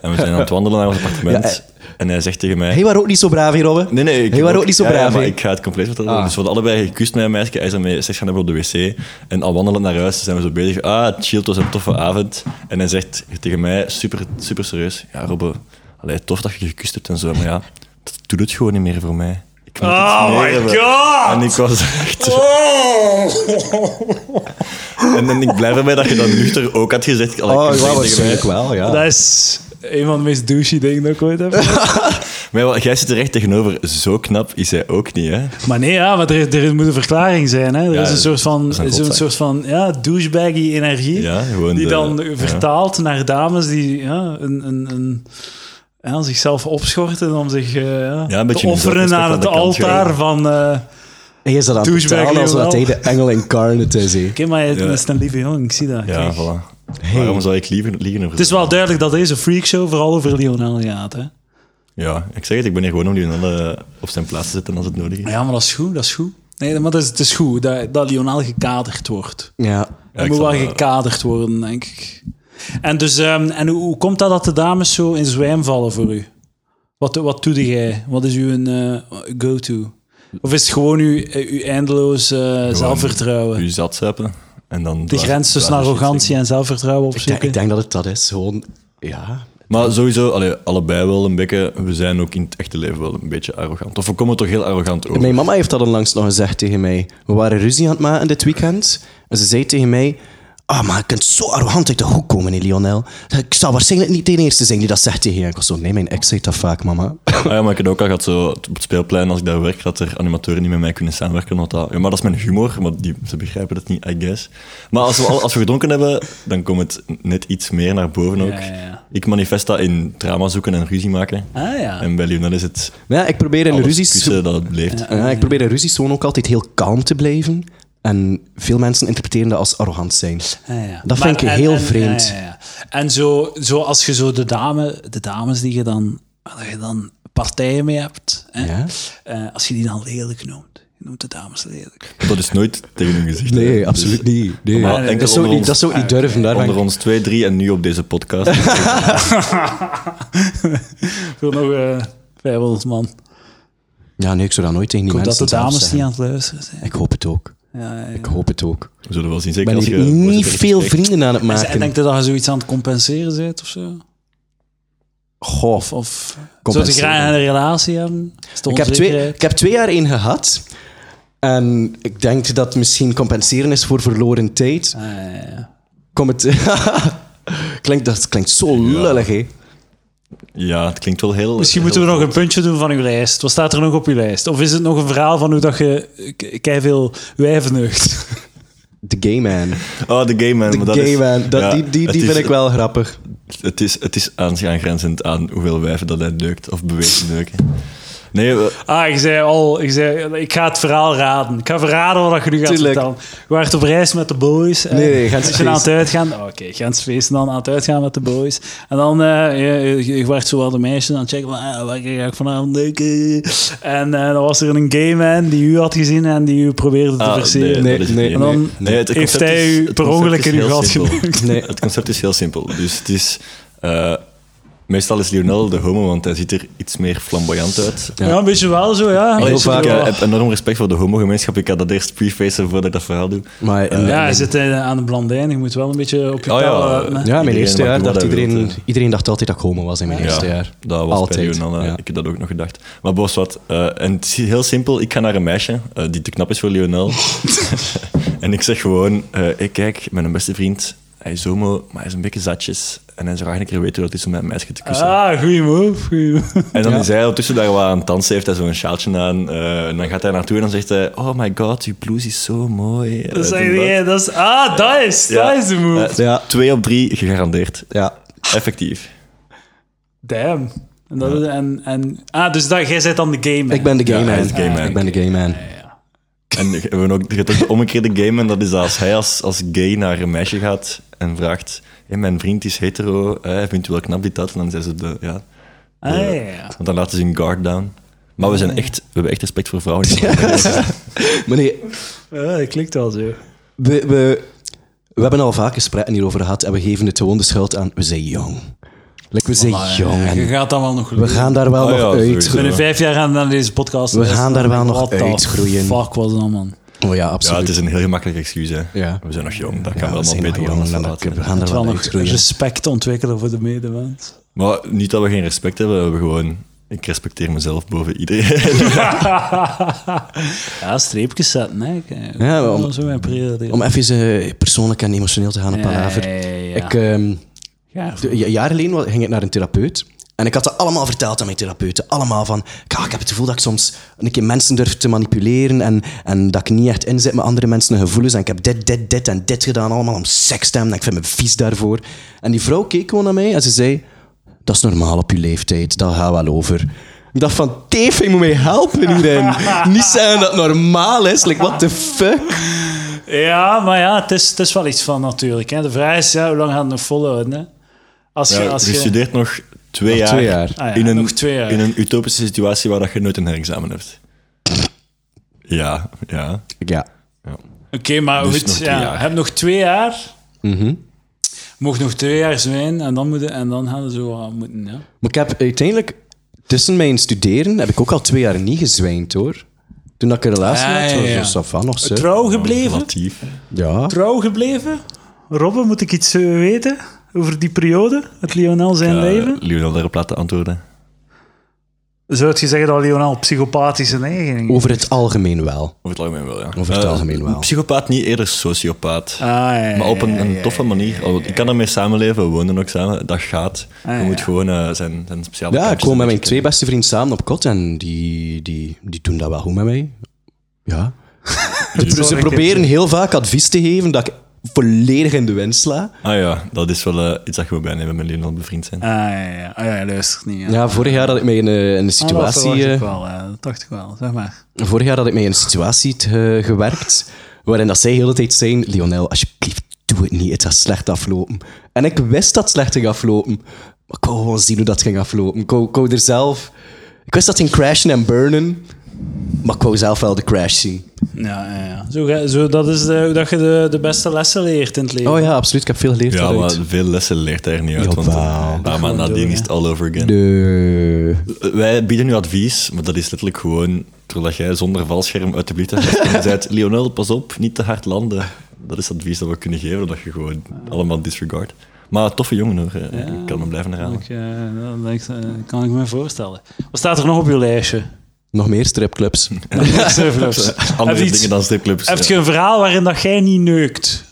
A: en we zijn aan het wandelen naar ons appartement.
C: Ja, hij-
A: En hij zegt tegen mij.
C: Hij was ook niet zo braaf hier, Robbe.
A: Nee, nee, ik
C: Hij
A: heb
C: was ook niet zo
A: ja, ja,
C: braaf,
A: maar
C: hè?
A: ik ga het compleet vertellen.
C: Ah.
A: Dus we hadden allebei gekust met een meisje. Hij is daarmee seks gaan hebben op de wc. En al wandelend naar huis zijn we zo bezig. Ah, chill, het was een toffe avond. En hij zegt tegen mij, super, super serieus. Ja, Robbe, allee, tof dat je gekust hebt en zo. Maar ja, dat doet het gewoon niet meer voor mij. Ik moet
B: Oh
A: iets meer
B: my
A: hebben.
B: God!
A: En ik was echt...
B: Oh!
A: En, en ik blijf erbij dat je dat nuchter ook had gezegd. Allee,
C: Oh,
A: ik zeg
C: ja,
A: tegen
C: waarschijnlijk
A: mij-
C: wel,
B: Dat
C: ja.
B: is een van de meest douchey dingen dat ik ooit heb.
A: (laughs) Maar wel, jij zit er echt tegenover. Zo knap is hij ook niet, hè?
B: Maar nee, ja, want er, er moet een verklaring zijn. Hè? Er
A: Ja,
B: is een soort van,
A: is een
B: zo'n
A: rotzak.
B: soort van ja, douchebaggy energie.
A: Ja, gewoon
B: die
A: de-
B: dan
A: ja.
B: vertaalt naar dames die ja, een, een, een, ja, zichzelf opschorten om zich eh, ja,
A: Ja, een
B: te
A: beetje
B: offeren
A: zelfrespect
B: aan
A: aan
B: het
A: de kant
B: altaar
A: gooien.
B: van... eh, Oké,
C: Hij is dat aan het
B: Douchebag
C: vertalen alsof
B: Lionel.
C: dat hij de engel incarnate is, hè.
B: maar het
A: Ja.
B: is een lieve jongen, ik zie dat.
A: Ja,
B: kijk.
A: voilà. Waarom zou ik liever liegen over
B: Het is wel duidelijk dat deze freakshow vooral over Lionel gaat. Hè?
A: Ja, ik zeg het, ik ben hier gewoon om Lionel eh, op zijn plaats te zetten als het nodig is.
B: Ja, maar dat is goed, dat is goed. Nee, maar dat is, het is goed dat, dat Lionel gekaderd wordt.
C: Ja.
A: Ja,
B: Er
A: ik
B: moet
A: zal,
B: wel
A: eh,
B: gekaderd worden, denk ik. En, dus, ehm, en hoe, hoe komt dat dat de dames zo in zwijm vallen voor u? Wat, wat doe jij? Wat is uw eh, go-to? Of is het gewoon uw, eh, uw eindeloos eh, zelfvertrouwen?
A: U zat zuipen en dan...
B: de grens tussen arrogantie en zelfvertrouwen
C: Ik denk,
B: opzoeken?
C: ik denk dat het dat is. Gewoon, ja.
A: Maar sowieso, allee, allebei wel een beetje... We zijn ook in het echte leven wel een beetje arrogant. Of we komen toch heel arrogant over.
C: Mijn mama heeft dat onlangs nog gezegd tegen mij. We waren ruzie aan het maken dit weekend. En ze zei tegen mij... Ah, maar je kunt zo arrogant uit de hoek komen, hè, Lionel. Ik zou waarschijnlijk niet de eerste zijn die dat zegt tegen je. Ik was zo, nee, mijn ex zegt dat vaak, mama. (laughs)
A: Ah ja, maar ik heb ook al gehad zo, op het speelplein, als ik daar werk, dat er animatoren niet met mij kunnen samenwerken. omdat dat, ja, maar dat is mijn humor, maar die, ze begrijpen dat niet, I guess. Maar als we, al- als we gedronken hebben, dan komt het net iets meer naar boven ook.
B: Ja, ja, ja.
A: Ik manifest dat in drama zoeken en ruzie maken.
B: Ah ja.
A: En bij Lionel is het
C: Maar ja, ik probeer in
A: alles
C: ruzies...
A: kussen dat het leeft.
C: Ja, ik probeer in ruzies gewoon ook altijd heel kalm te blijven. En veel mensen interpreteren dat als arrogant zijn.
B: Ah, ja.
C: Dat
B: Maar-
C: vind ik
B: en-
C: heel
B: en-
C: vreemd.
B: ja, ja, ja. En zo, zo als je zo de, dame, de dames die je dan, waar je dan partijen mee hebt, hè?
C: Ja.
B: Eh, als je die dan lelijk noemt. Je noemt de dames lelijk.
A: Dat is nooit tegen hun gezicht. hè.
C: Nee,
A: Dus
C: absoluut niet. Nee.
A: Maar
C: dat,
A: enkel
C: zou ik
A: onder
C: niet, dat
A: ons-
C: zou ik niet durven. Daar ben
A: Onder
C: ik-
A: ons twee, drie en nu op deze
C: (laughs)
A: podcast.
B: Voor nog eh 500 man. Ik
C: Ja, nee, ik zou dat nooit tegen die
B: hoop dat
C: mensen
B: de
C: zelf
B: dames
C: zeggen.
B: niet aan het luisteren zijn.
C: Ik hoop het ook.
B: Ja, ja, ja.
C: Ik hoop het ook.
A: We zullen wel zien,
C: Ik
A: zeker
C: ben
A: als
C: hier
A: je...
C: niet
A: voorzitter
C: veel
A: gesprek-
C: vrienden aan het
B: En
C: maken.
B: denk je dat je zoiets aan het compenseren bent of zo?
C: Goh,
B: Of, of zou ze
C: Compenseren.
B: graag een relatie hebben? Is het
C: ik heb, twee,
B: onzekerheid?
C: ik heb twee jaar één gehad. En ik denk dat misschien compenseren is voor verloren tijd.
B: Ah, ja, ja, ja.
C: Kom het... (laughs) klinkt, dat klinkt zo lullig, hè?
A: Ja, het klinkt wel heel...
B: Misschien
A: heel
B: moeten we nog een puntje doen van uw lijst. Wat staat er nog op uw lijst? Of is het nog een verhaal van hoe dat je eh, k- keiveel wijven neugt?
C: De gay man.
A: Oh, de gay man.
C: De
A: maar dat
C: gay
A: is-
C: man. Dat,
A: ja,
C: die die,
A: het
C: die
A: is-
C: vind ik wel grappig.
A: Het is, het is aan- aangrenzend aan hoeveel wijven dat hij neukt of beweegt te neuken. Nee, we-
B: Ah, ik zei al, ik, zei, ik ga het verhaal raden. Ik ga verraden wat je nu gaat
C: Tuurlijk.
B: vertellen. Je waart op reis met de boys. eh,
C: Nee, nee, Gens
B: je aan het
C: feesten.
B: uitgaan. Oh, Oké, Gens feesten dan aan het uitgaan met de boys. En dan, eh je, je, je waart zo wel de meisjes aan het checken. Van, ah, waar ga ik vanavond neuken? En eh, dan was er een gay man die u had gezien en die u probeerde te
A: ah,
B: versieren.
C: Nee,
A: dat is
C: nee,
A: het
B: en
A: niet.
B: dan
A: Nee, het
B: heeft
A: concept
B: hij
A: is-
B: u
A: het
B: per
A: concept
B: ongeluk
A: is
B: in uw
A: heel
B: gat
A: simpel.
B: geneukt.
C: Nee.
A: Het concept is heel simpel. Dus het is... eh, Meestal is Lionel de homo, want hij ziet er iets meer flamboyant uit.
B: Ja, een beetje wel zo, ja.
A: Heel
B: Een beetje
A: vaak,
B: zo.
A: ik eh, heb enorm respect voor de homogemeenschap. Ik had dat eerst prefacen voordat ik dat verhaal doe.
C: Maar eh,
B: Ja, hij zit eh, aan de blandijn. Je moet wel een beetje op je
A: Oh ja,
B: tellen,
A: eh,
B: hè.
C: ja, mijn
A: Iedereen
C: eerste
A: mag
C: jaar
A: doen
C: dacht
A: wat hij
C: iedereen,
A: wilt, hè.
C: iedereen dacht altijd dat ik homo was in mijn eerste jaar.
A: Dat was
C: altijd.
A: bij Lionel. hè.
C: Ja.
A: Ik heb dat ook nog gedacht. Maar Bos, wat? eh, en het is heel simpel. Ik ga naar een meisje eh, die te knap is voor Lionel.
C: (laughs)
A: (laughs) en ik zeg gewoon: eh ik kijk, mijn beste vriend, hij is homo, maar hij is een beetje zatjes. En hij zou graag een keer weten hoe dat is om met een meisje te kussen.
B: Ah, goeie move. goeie move. (laughs)
A: En dan is hij ondertussen daar wat aan het dansen, heeft hij zo'n sjaaltje aan. eh, en dan gaat hij naartoe en dan zegt hij, oh my god, uw blouse is zo mooi. Eh,
B: Dat is,
A: dit en
B: eigenlijk- ja, dat is, ah, dat is,
A: Ja.
B: dat is de move.
A: Eh,
C: Ja.
A: Twee op drie, gegarandeerd.
C: Ja.
A: Effectief.
B: Damn. En dat is- en, en, ah, dus dat, jij zit dan de game. man.
C: Ik ben de gay
A: Ja, hij
C: man.
A: is de gay man.
C: Ik ben de gay man.
A: En je hebt ook je hebt ook de omgekeerde game, en dat is dat als hij als, als gay naar een meisje gaat en vraagt, hey, mijn vriend is hetero, eh, vindt u wel knap dit dat? En dan zijn ze de, ja.
B: Ah, ja, ja.
A: Want dan laten ze hun guard down. Maar we,
C: Ah.
A: zijn echt, we hebben echt respect voor vrouwen.
C: Maar nee,
B: Ja, dat klinkt wel zo.
C: we, we, we hebben al vaak gesprekken hierover gehad en we geven het gewoon de schuld aan. We zijn jong. Like, we zijn jong.
B: Je (laughs)
C: En
B: gaat dat wel nog
C: we gaan daar wel
A: Ah, ja,
C: nog uit.
A: sowieso.
B: Binnen vijf jaar gaan we naar deze podcast.
C: We
B: luisteren.
C: gaan daar wel nog
B: What the
C: uitgroeien.
B: Fuck was dat, man.
C: Oh ja,
A: Ja, het
C: absoluut.
A: is een heel gemakkelijk excuus. Hè.
C: Ja.
A: We zijn nog jong, dat kan
C: Ja, we
A: wel allemaal
C: zijn nog
A: beter worden. eh,
C: jong,
A: als we
C: en
A: later
C: dat- we
A: zijn.
C: gaan er
B: Terwijl
C: wel
B: nog
C: uitgroeien.
B: respect ontwikkelen voor de medemens.
A: Maar niet dat we geen respect hebben, we hebben gewoon... Ik respecteer mezelf boven iedereen.
B: ja, streepjes zetten, hè.
C: Ja, maar om-
B: Dat is zo mijn prioriteit.
C: Om even eh, persoonlijk en emotioneel te gaan op palaver.
B: Ja, ja, ja.
C: Ik, ehm,
B: Ja,
C: De- ja- Jaren geleden wa- ging ik naar een therapeut. En ik had dat allemaal verteld aan mijn therapeuten. Allemaal van, "Ka, ik heb het gevoel dat ik soms een keer mensen durf te manipuleren en, en dat ik niet echt inzit met andere mensen hun gevoelens. En ik heb dit, dit, dit en dit gedaan, allemaal om seks te hebben. En ik vind me vies daarvoor. En die vrouw keek gewoon naar mij en ze zei, dat is normaal op je leeftijd, dat gaat wel over. Ik dacht van, teef, je moet mij helpen hierin. niet zeggen dat het normaal is, like, what the fuck?
B: Ja, maar ja, het is, het is wel iets van natuurlijk. Hè. De vraag is, ja, hoe lang gaat het nog volhouden? Hè? Als je,
A: Ja,
B: als
A: je
B: je,
A: studeert nog twee jaar,
C: twee jaar.
B: Ah ja,
A: in, een,
B: nog twee jaar.
A: in een utopische situatie waar dat je nooit een herexamen hebt. Ja, ja.
C: Ja.
B: Oké, maar
A: Dus nog
B: goed,
A: twee
B: ja,
A: jaar. Mhm.
B: heb nog twee jaar. Mocht nog twee jaar zijn en dan, moeten, en dan gaan we zo aan moeten. Ja.
C: Maar ik heb uiteindelijk, tussen mijn studeren, heb ik ook al twee jaar niet gezwijnd hoor. Toen dat ik een relatie
B: Ah,
C: had,
B: ja,
C: was
B: ja.
C: was dat van nog zo.
B: Trouw
A: Nou,
B: gebleven?
A: Relatief.
C: Ja.
B: Trouw gebleven? Robben, moet ik iets eh, weten over die periode? Het Lionel zijn leven?
A: Eh, Lionel daarop laten antwoorden.
B: Zou je zeggen dat Lionel psychopathische neigingen heeft?
C: Over het algemeen wel.
A: Over het algemeen wel, ja.
C: Over het
A: Eh,
C: algemeen wel.
A: Psychopaat niet, eerder sociopaat.
B: Ah, ja, ja,
A: maar op een, een
B: ja,
A: toffe
B: ja,
A: manier.
B: ja,
A: Al- Ik kan ermee samenleven, we wonen ook samen. Dat gaat.
B: Ah,
A: je moet
B: ja.
A: gewoon eh, zijn, zijn speciale
C: Ja, ik
A: kantjes
C: woon met
A: een
C: mijn
A: beetje
C: twee beste vrienden samen op kot en die, die, die doen dat wel goed met mij. (laughs) Ja. Dus ze
B: Sorry,
C: proberen heel vaak advies te geven dat ik volledig in de wind sla.
A: kennen. Ah ja, dat is wel eh, iets dat je moet bijnemen met Lionel bevriend zijn.
B: Ah, ja, ja. Ah, ja, hij luistert niet. Ja.
C: Ja, vorig jaar had ik mij in, eh, in een
B: Ah, dat
C: situatie...
B: verwacht ik
C: eh,
B: wel, eh, dat dacht ik wel, zeg maar.
C: Vorig jaar had ik mij in een situatie te- gewerkt waarin dat zij heel de hele tijd zijn: Lionel, alsjeblieft, doe het niet, het gaat slecht aflopen. En ik wist dat het slecht ging aflopen, maar ik wou gewoon zien hoe dat ging aflopen. Ik wou, ik wou er zelf... Ik wist dat het ging crashen en burnen, maar ik wou zelf wel de crash zien.
B: Ja, ja, ja. Zo, ga- zo, dat is de, hoe dat je de, de beste lessen leert in het leven.
C: Oh ja, absoluut, ik heb veel geleerd
A: Ja, maar
C: daaruit.
A: veel lessen leert hij er niet uit. want
C: Jawel.
A: eh, een paar maanden nadien is het all over again.
C: De...
A: Eh, Wij bieden nu advies, maar dat is letterlijk gewoon terwijl jij zonder valscherm uit de bliet hebt. zegt, (laughs) Lionel, pas op, niet te hard landen. Dat is het advies dat we kunnen geven, dat je gewoon allemaal disregard. Maar toffe jongen hoor, eh, ik kan hem blijven herhalen.
B: Ik, eh, dat denk ik, eh, kan ik me voorstellen. Wat staat er nog op je
A: (laughs)
B: lijstje?
C: Nog meer stripclubs.
B: (laughs) Surflubs. Heb
A: Eh, Andere
B: je iets-
A: dingen dan stripclubs.
B: Heb je
A: ja.
B: een verhaal waarin dat jij niet neukt?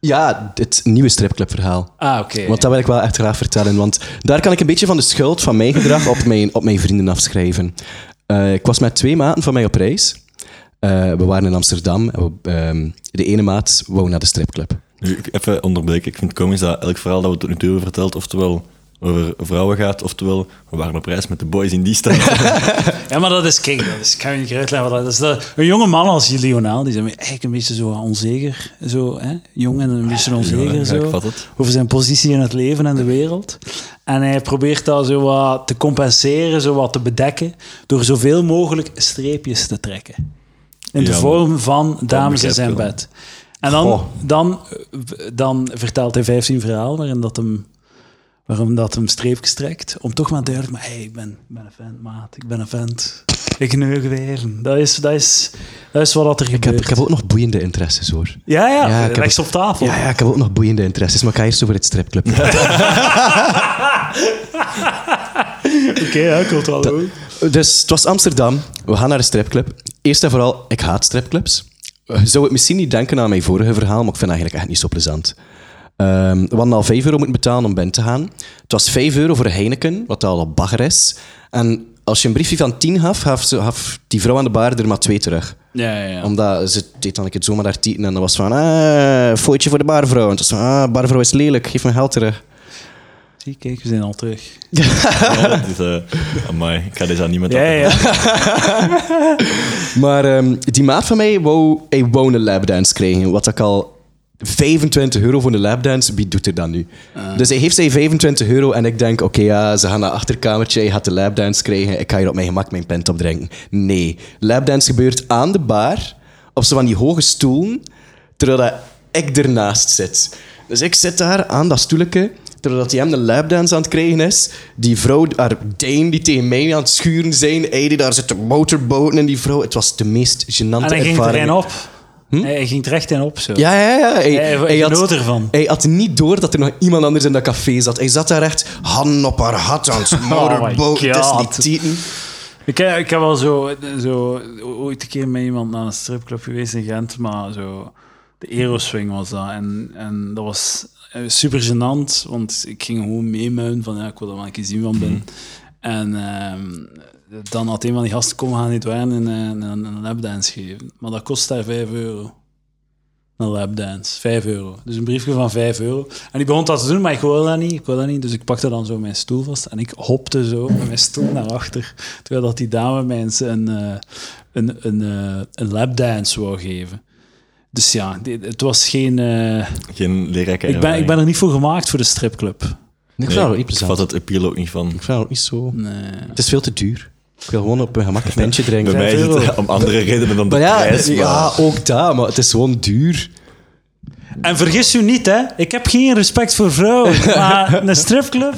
C: Ja, het nieuwe stripclubverhaal.
B: Ah, oké.
C: Want dat wil ik wel echt graag vertellen. Want daar kan ik een beetje van de schuld van mijn gedrag op mijn, op mijn vrienden afschrijven. Eh, ik was met twee maten van mij op reis. Eh, we waren in Amsterdam. En we- ehm, de ene maat wou naar de stripclub.
A: Nu, ik- Even onderbreken, ik vind het komisch dat elk verhaal dat we tot nu toe hebben verteld, oftewel over vrouwen gaat, oftewel we waren op reis met de boys in die
B: (laughs)
A: straat.
B: Ja, maar dat is, kijk, dat is, ik kan je niet uitleggen wat dat is. Dat- een jonge man als Lionel, die zijn eigenlijk een beetje zo onzeker. Zo, hè? Jong en een beetje onzeker.
A: ja, ik
B: zo,
A: vat het.
B: Over zijn positie in het leven en de wereld. En hij probeert dat zo wat te compenseren, zo wat te bedekken, door zoveel mogelijk streepjes te trekken. In de
A: Ja, maar-
B: vorm van dames in
A: begrijp
B: zijn
A: ik wel.
B: bed. En dan, eh,
C: Goh.
B: dan, dan vertelt hij 15 verhalen waarin dat hem waarom dat hem streepjes trekt. Om toch maar duidelijk, maar hey, ik ben, ik ben een vent, maat. Ik ben een vent. Ik neug weer. Dat is, dat is, dat is wat dat er
C: Ik heb,
B: gebeurt.
C: ik heb ook nog boeiende interesses hoor.
B: Ja, ja,
C: Ja, ik heb
B: rechts
C: ook-
B: op tafel.
C: Ja, ja, ik heb ook nog boeiende interesses, maar ik ga eerst over het stripclub. praten.
B: Oké, ja, ik wil het wel doen.
C: Dus het was Amsterdam, we gaan naar een stripclub. Eerst en vooral, ik haat stripclubs. Je zou het misschien niet denken aan mijn vorige verhaal, maar ik vind het eigenlijk echt niet zo plezant. Ehm, we hadden al 5 euro moeten betalen om binnen te gaan. Het was 5 euro voor een Heineken, wat al een bagger is. En als je een briefje van 10 gaf, gaf, ze- gaf die vrouw aan de bar er maar 2 terug.
B: Ja, ja, ja.
C: Omdat ze deed dan een keer zomaar haar tieten en dan was van, ah, fooitje voor de barvrouw. En toen was van, ah, barvrouw is lelijk, geef me geld terug.
B: Zie, kijk, we zijn al terug.
A: Ja, dat is, eh, amai, ik ga deze aan niemand
B: Ja,
A: afnemen.
B: (laughs) ja.
C: Maar ehm, die maat van mij wou, hij wou een lapdance krijgen. Wat ik al 25 euro voor een lapdance, wie doet er dan nu? Dus hij heeft zijn 25 euro en ik denk, oké, ja, ze gaan naar het achterkamertje, hij gaat de lapdance krijgen, ik ga hier op mijn gemak mijn pint opdrinken. Nee, lapdance gebeurt aan de bar, op zo van die hoge stoelen, terwijl dat ik ernaast zit. Dus ik zit daar aan dat stoeletje, terwijl dat die hem de lapdance aan het krijgen is. Die vrouw, haar dame die tegen mij aan het schuren zijn, hij die daar zit te motorboten en die vrouw. Het was de meest gênante
B: En hij ging er
C: ervaring.
B: een op. Hij, hij ging er echt in op, zo.
C: Ja, ja, ja. Hij,
B: Hij- hij genoot ervan.
C: Hij had niet door dat er nog iemand anders in dat café zat. Hij zat daar echt handen op haar
B: (laughs)
C: hat aan het motorboten
B: Oh my
C: tussen die
B: God.
C: tieten.
B: Ik, heb- ik heb wel zo, zo ooit een keer met iemand naar een stripclub geweest in Gent, maar zo de Aeroswing was dat. En, en dat was eh, super gênant, want ik ging gewoon meemuilen van ja, ik wil er wel een keer zien van ben. En ehm, dan had een van die gasten komen gaan niet waren en eh, een, een lapdance geven. Maar dat kost daar 5 euro. Een lapdance, 5 euro. Dus een briefje van 5 euro. En die begon dat te doen, maar ik wilde dat niet. Ik wilde dat niet. Dus ik pakte dan zo mijn stoel vast en ik hopte zo met mijn stoel naar achter. Terwijl dat die dame mij eens een, eh, een, een, eh, een lapdance wou geven. Dus ja, dit- het was geen. eh,
A: Geen leerrijke
B: ik, ben, ik ben er niet voor gemaakt voor de stripclub.
C: Ik
A: Nee,
C: vond het
A: ik
C: niet
A: vat
C: plezant.
A: het appeal ook niet van.
C: Ik vond het niet zo...
B: Nee.
C: Het is veel te duur. Ik wil gewoon op mijn gemak een pintje
A: Bij
C: drinken.
A: mij is
B: €5
A: het (laughs) om andere redenen dan de
C: Maar ja,
A: prijs. maar-
C: ja, ook dat, maar het is gewoon duur.
B: En vergis u niet, hè? Ik heb geen respect voor
A: (laughs)
B: vrouwen, maar een stripclub.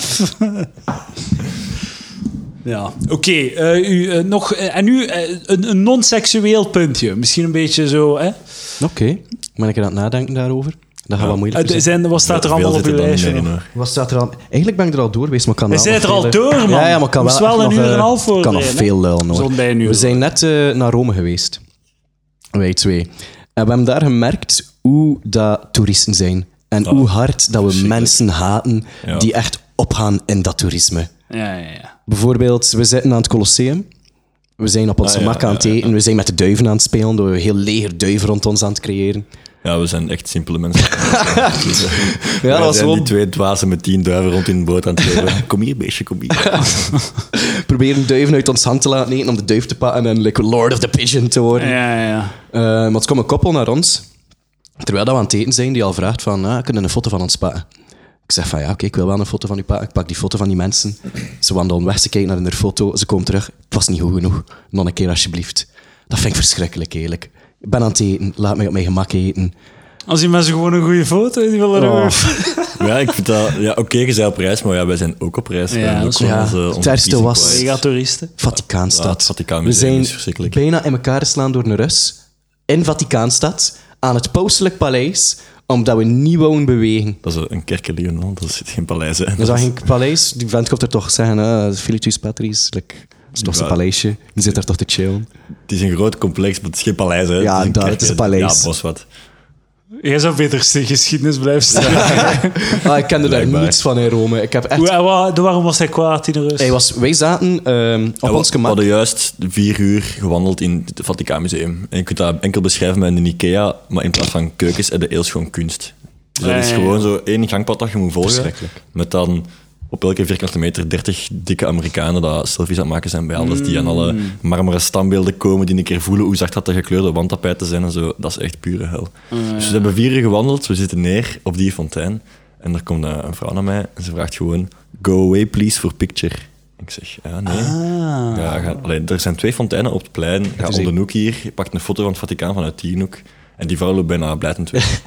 B: ja, oké. eh, u, eh, nog, eh, en nu eh, een, een non-seksueel puntje. Misschien een beetje zo, hè?
C: Oké, ben ik aan het nadenken daarover? Dat gaat wel moeilijk
B: Eh, zijn, wat staat er
A: Veel
B: allemaal op
A: zit er
B: uw
A: dan niet
B: lijstje?
A: meer in,
B: nog?
A: hoor.
C: Wat staat er al? Eigenlijk ben ik er al door geweest, maar ik kan
B: We
C: wel
B: zijn
C: nog
B: er al
C: veel-
B: door, man.
C: Ja, ja, maar ik kan
B: Moest wel
C: echt
B: een
C: nog,
B: uur en
C: eh,
B: een half
C: Ik kan nog
B: voorbereiden, hè?
C: veel luilen hoor.
B: Zo'n bij een uur.
C: We zijn net eh, naar Rome geweest. Wij twee. En we hebben daar gemerkt hoe dat toeristen zijn. En
B: Ah.
C: hoe hard dat we mensen haten
A: Ja.
C: die echt opgaan in dat toerisme.
B: Ja, ja, ja.
C: Bijvoorbeeld, we zitten aan het Colosseum. We zijn op ons
A: Ah, ja,
C: gemak aan
A: ja,
C: het eten. We zijn met de duiven aan het spelen. Door een heel leger duiven rond ons aan het creëren.
A: Ja, we zijn echt simpele mensen.
C: (laughs) Ja,
A: Wij
C: dat was
A: zijn die
C: gewoon
A: twee dwazen met tien duiven rond in een boot aan het leven. (laughs) Kom hier, beestje, kom hier.
C: (laughs) proberen duiven uit ons hand te laten eten om de duif te pakken en like Lord of the Pigeon te worden.
B: ja, ja.
C: Eh, maar het kwam een koppel naar ons, terwijl dat we aan het eten zijn, die al vraagt van, ah, kunnen we een foto van ons pakken? Ik zeg van, ja, oké, ik wil wel een foto van u pakken. Ik pak die foto van die mensen. Ze wandelen weg, ze kijken naar hun foto, ze komen terug. Het was niet goed genoeg. Nog een keer, alsjeblieft. Dat vind ik verschrikkelijk, eerlijk. Ik ben aan het eten, laat mij op mijn gemak eten.
B: Als die mensen gewoon een goede foto die willen
C: Oh.
B: hebben.
A: (laughs) Ja, ik vind dat... Ja, oké, je zei op reis, maar ja, wij zijn ook op reis. Wij
B: Ja,
A: hebben
B: dat
A: ook
B: is
A: gewoon
C: waar.
A: onze-
C: Het
A: onze
C: ergste
A: kiezen
C: was-
A: kwijt.
B: Mega toeristen.
A: Ja,
C: Vaticaanstad.
A: het Vaticaanmuseum
C: we zijn
A: is verschrikkelijk.
C: bijna in elkaar geslaan door een Rus in Vaticaanstad aan het pauselijk paleis, omdat we niet wouden bewegen.
A: Dat is een kerk in Lyon, dat zit geen paleis in.
C: Dus dan ging ik paleis, die vent komt er toch zeggen, ah, Filitus Patris, like, het is toch zijn
A: Ja.
C: paleisje, die zit daar toch te chillen.
A: Het is een groot complex, maar het is geen paleis. Hè.
C: Ja,
A: het is een,
C: daar,
A: kerk,
C: het is een
A: hè.
C: paleis.
A: Ja, bos wat.
B: Jij zou beter de geschiedenis blijven staan.
C: Ah, ik kende daar
A: Blijkbaar.
C: niets van in Rome. Ik heb echt...
B: Hoe- en wa- Waarom was hij kwaad in de rust?
C: Hij was, wij zaten ehm, op
A: Ja, we-
C: ons
A: We
C: gemak.
A: hadden juist vier uur gewandeld in het Vaticaanmuseum. En je kunt dat enkel beschrijven met een IKEA, maar in plaats van keukens en de eeuw gewoon kunst. Dus dat
B: Ja,
A: is
B: ja,
A: gewoon zo één gangpad dat je moet volgen.
C: Verschrikkelijk.
A: Met dan op elke vierkante meter 30 dikke Amerikanen dat selfies aan het maken zijn bij alles. Die aan alle marmeren standbeelden komen, die een keer voelen hoe zacht dat de gekleurde wandtapijten zijn en zo. Dat is echt pure hel. dus we hebben vier uur gewandeld, we zitten neer op die fontein. En er komt eh, een vrouw naar mij en ze vraagt gewoon: Go away please for picture. Ik zeg, ja, nee.
B: Ah.
A: Ja, ga, allee, er zijn twee fonteinen op het plein. Ga
C: is
A: om de
C: een-
A: hoek hier, je pakt een foto van het Vaticaan vanuit die hoek. En die vrouw loopt bijna blijtend weg.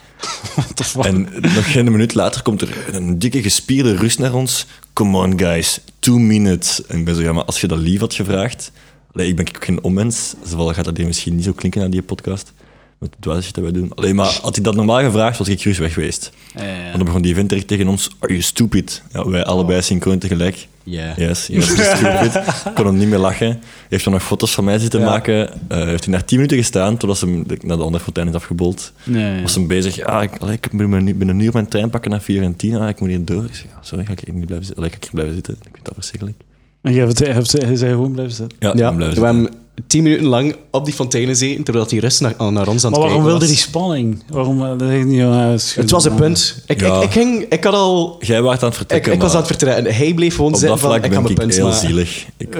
B: fuck?
A: en nog geen minuut later komt er een dikke gespierde Rus naar ons. Come on guys, two minutes. En ik ben zo, ja, maar als je dat lief had gevraagd... Allee, ik ben ook geen onmens, zowel gaat dat hier misschien niet zo klinken aan die podcast. Met het dwaasje dat wij doen. Alleen maar had hij dat normaal gevraagd, was ik gerust weg geweest. Want dan begon die vent echt tegen ons, are you stupid? Ja, wij allebei synchroon tegelijk.
C: Ja.
A: Yes,
B: (laughs)
A: yes, is stupid. Ik kon hem niet meer lachen. Hij heeft dan nog foto's van mij zitten
B: Ja.
A: maken. Eh, heeft hij daar tien minuten gestaan, totdat ze hem de- naar de andere fontein is afgebold.
B: Nee, ja.
A: Was hem bezig, ah, ik, allee, ik ben een uur- ben een uur mijn trein pakken naar Fiorentina, Ah, ik moet hier door. Ik zeg, ja, sorry, ga ik hier niet blijven zitten. Allee, ga ik hier blijven zitten. Ik vind dat verschrikkelijk.
B: En jij hebt, hebt, hij zei gewoon blijven zitten.
A: Ja, ik ben
C: Ja,
A: blijven
C: we
A: zitten.
C: hebben tien minuten lang op die fonteinen zitten, terwijl die rest naar, naar ons aan het
B: Maar waarom
C: kijken
B: wilde
C: was.
B: die spanning? Waarom eh, dat is niet aan
C: Het was een punt. Ik,
A: Ja.
C: ik, ik, ging, ik had al...
A: Jij waart aan het
C: Ik,
A: vertrekken,
C: ik was aan
A: maar
C: het vertrekken. Hij bleef gewoon
A: op
C: zitten
A: dat
C: van,
A: vlak
C: ik kan
A: ben
C: mijn
A: ik
C: punt
A: heel
C: maken.
A: zielig. Ik,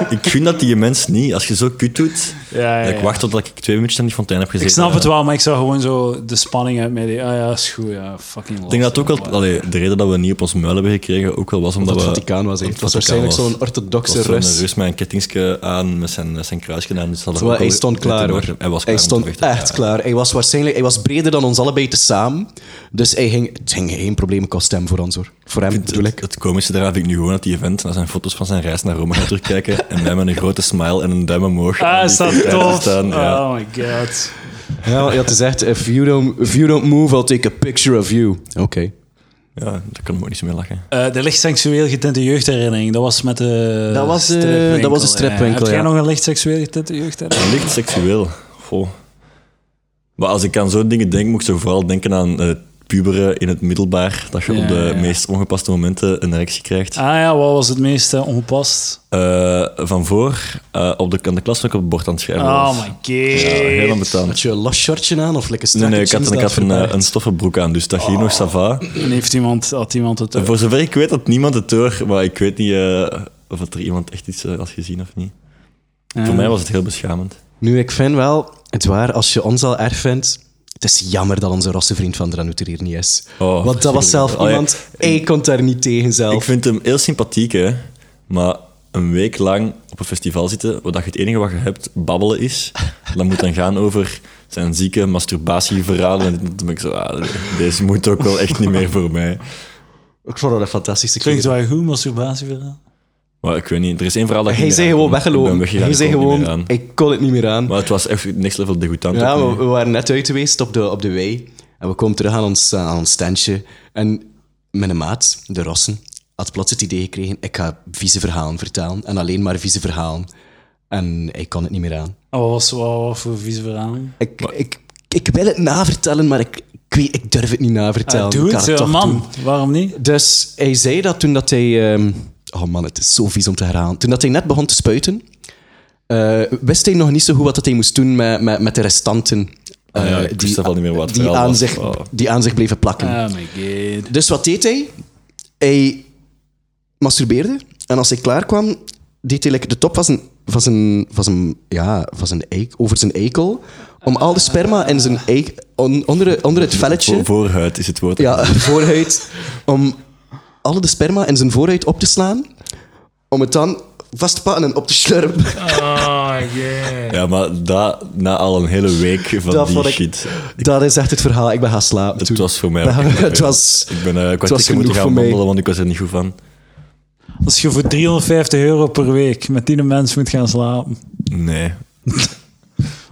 A: ik, ik gun dat die mens niet. Als je zo kut doet,
B: Ja, ja,
A: ik
B: ja.
A: wacht totdat ik twee minuutjes aan die fontein heb gezeten.
B: Ik snap
A: Ja.
B: het wel, maar ik zou gewoon zo de spanning uit mij. die- Ah ja, is goed, ja, fucking
A: Ik denk dat het ook wel, allee, de reden dat we niet op ons muil hebben gekregen ook wel was omdat
C: Dat het
A: we.
C: Vaticaan was. hè. Het was
A: Vaticaan
C: waarschijnlijk
A: was.
C: zo'n orthodoxe
A: Het was zo'n
C: Rus.
A: Rus met een kettingske aan, met zijn, zijn kruisje aan. Dus dat
C: Terwijl
A: ook
C: hij
A: al-
C: stond
A: dat hij
C: klaar,
A: nog-
C: hoor.
A: Hij was klaar
C: hij
A: om te
C: stond
A: vechten,
C: echt
A: ja.
C: klaar. Hij was waarschijnlijk hij was breder dan ons allebei tezamen. Dus hij ging, het ging geen problemen kosten hem voor ons, hoor. Voor hem, bedoel ik.
A: Het, het komische daaraan vind ik nu gewoon dat die event naar zijn foto's van zijn reis naar Rome gaat
C: (laughs)
A: terugkijken en mij met een grote smile en een duim omhoog aan
B: Ah,
A: die
B: is dat
A: kant
B: tof?
A: staan, ja.
B: Oh my god.
C: Ja, je had gezegd, if you, don't, if you don't move, I'll take a picture of you. Oké.
A: ja, daar kan ik ook niet zo mee lachen.
B: Eh, de licht seksueel getinte jeugdherinnering. Dat was met de.
C: Dat was, eh,
B: stripwinkel,
C: dat was de
B: ja.
C: stripwinkel,
B: Heb jij
C: ja.
B: nog een licht seksueel getinte jeugdherinnering?
A: Licht seksueel. Goh. Maar als ik aan zo'n dingen denk, moet ik zo vooral denken aan eh, puberen in het middelbaar. Dat je
B: Ja,
A: op de
B: ja, ja.
A: meest ongepaste momenten een erectie krijgt.
B: Ah ja, wat was het meest eh, ongepast?
A: Eh, van voor eh, op de, aan de klasvak op het bord aan het schrijven was.
B: Oh my god.
A: Ja, heel onbetaald.
C: Had je een los shortje aan of lekker strak?
A: Nee, nee, ik had, ik had een, eh, een stoffen broek aan, dus dat ging nog sava.
C: Oh.
B: En heeft iemand, had iemand het...
A: Voor zover ik weet had niemand het door, maar ik weet niet eh, of dat er iemand echt iets eh, had gezien of niet. Voor mij was het heel beschamend.
C: Nu, ik vind wel, het waar, als je ons al erg vindt... Het is jammer dat onze rassenvriend van Dranouter hier niet is.
A: Oh,
C: Want dat was zelf
A: Oh, ja.
C: iemand... Ik kon daar niet tegen zelf.
A: Ik vind hem heel sympathiek, hè. Maar een week lang op een festival zitten, waar dat je het enige wat je hebt babbelen is, (laughs) dat moet dan gaan over zijn zieke masturbatieverhalen. En dan ben ik zo, ah, deze moet ook wel echt niet meer voor mij.
C: Ik vond dat fantastisch. Ik
B: Klinkt wel goed, masturbatieverhaal.
A: Maar ik weet niet, er is één verhaal dat ik
C: Hij
A: niet
C: zei
A: meer
C: gewoon
A: aankom. Ik ben
C: weggelopen.
A: weggegaan,
C: Hij
A: ik
C: zei
A: kon het niet meer aan.
C: gewoon, ik kon het niet meer aan.
A: Maar het was echt next level degoutant.
C: Ja,
A: opnieuw.
C: we, we waren net uit geweest op de, op de wei. En we komen terug aan ons, eh, aan ons standje. En mijn maat, de Rossen, had plots het idee gekregen... Ik ga vieze verhalen vertellen. En alleen maar vieze verhalen. En ik kon het niet meer aan.
B: Oh, wat was wat, wat voor vieze verhaal?
C: Ik, ik, ik wil het navertellen, maar ik, ik, weet, ik durf het niet navertellen.
B: Ah,
C: Ik
B: doe
C: kan
B: het, eh,
C: toch doen.
B: man. Waarom niet?
C: Dus hij zei dat toen dat hij... ehm, oh man, het is zo vies om te herhalen. Toen dat hij net begon te spuiten, eh, wist hij nog niet zo goed wat dat hij moest doen met, met, met de restanten. eh,
A: Ah ja, ik wist al niet meer wat het
C: die,
A: verhaal
C: aan
A: was.
C: zich,
A: Oh.
C: die aan zich bleven plakken.
B: Oh my god.
C: Dus wat deed hij? Hij masturbeerde. En als hij klaar kwam, deed hij like de top van zijn, van zijn, van zijn, ja, van zijn eik, over zijn eikel. Om al de sperma in zijn eik, on- onder, onder het velletje.
A: Voor, voorhuid is het woord.
C: Ja, (laughs) voorhuid. Om alle de sperma in zijn voorhuid op te slaan. Om het dan vast te pakken en op te slurpen.
B: Oh yeah.
A: Ja, maar dat na al een hele week van
C: Dat
A: die
C: vond ik-
A: shit.
C: Dat is echt het verhaal. Ik ben gaan slapen.
A: Het
C: toen.
A: was voor mij ook
C: (laughs) Ja,
A: niet
C: het
A: veel.
C: was-
A: Ik ben eh
C: was
A: kwartier
C: genoeg
A: moeten
C: voor
A: gaan
C: mij.
A: wandelen, want ik was er niet goed van.
B: Als je voor 350 euro per week met die mens moet gaan slapen.
A: Nee.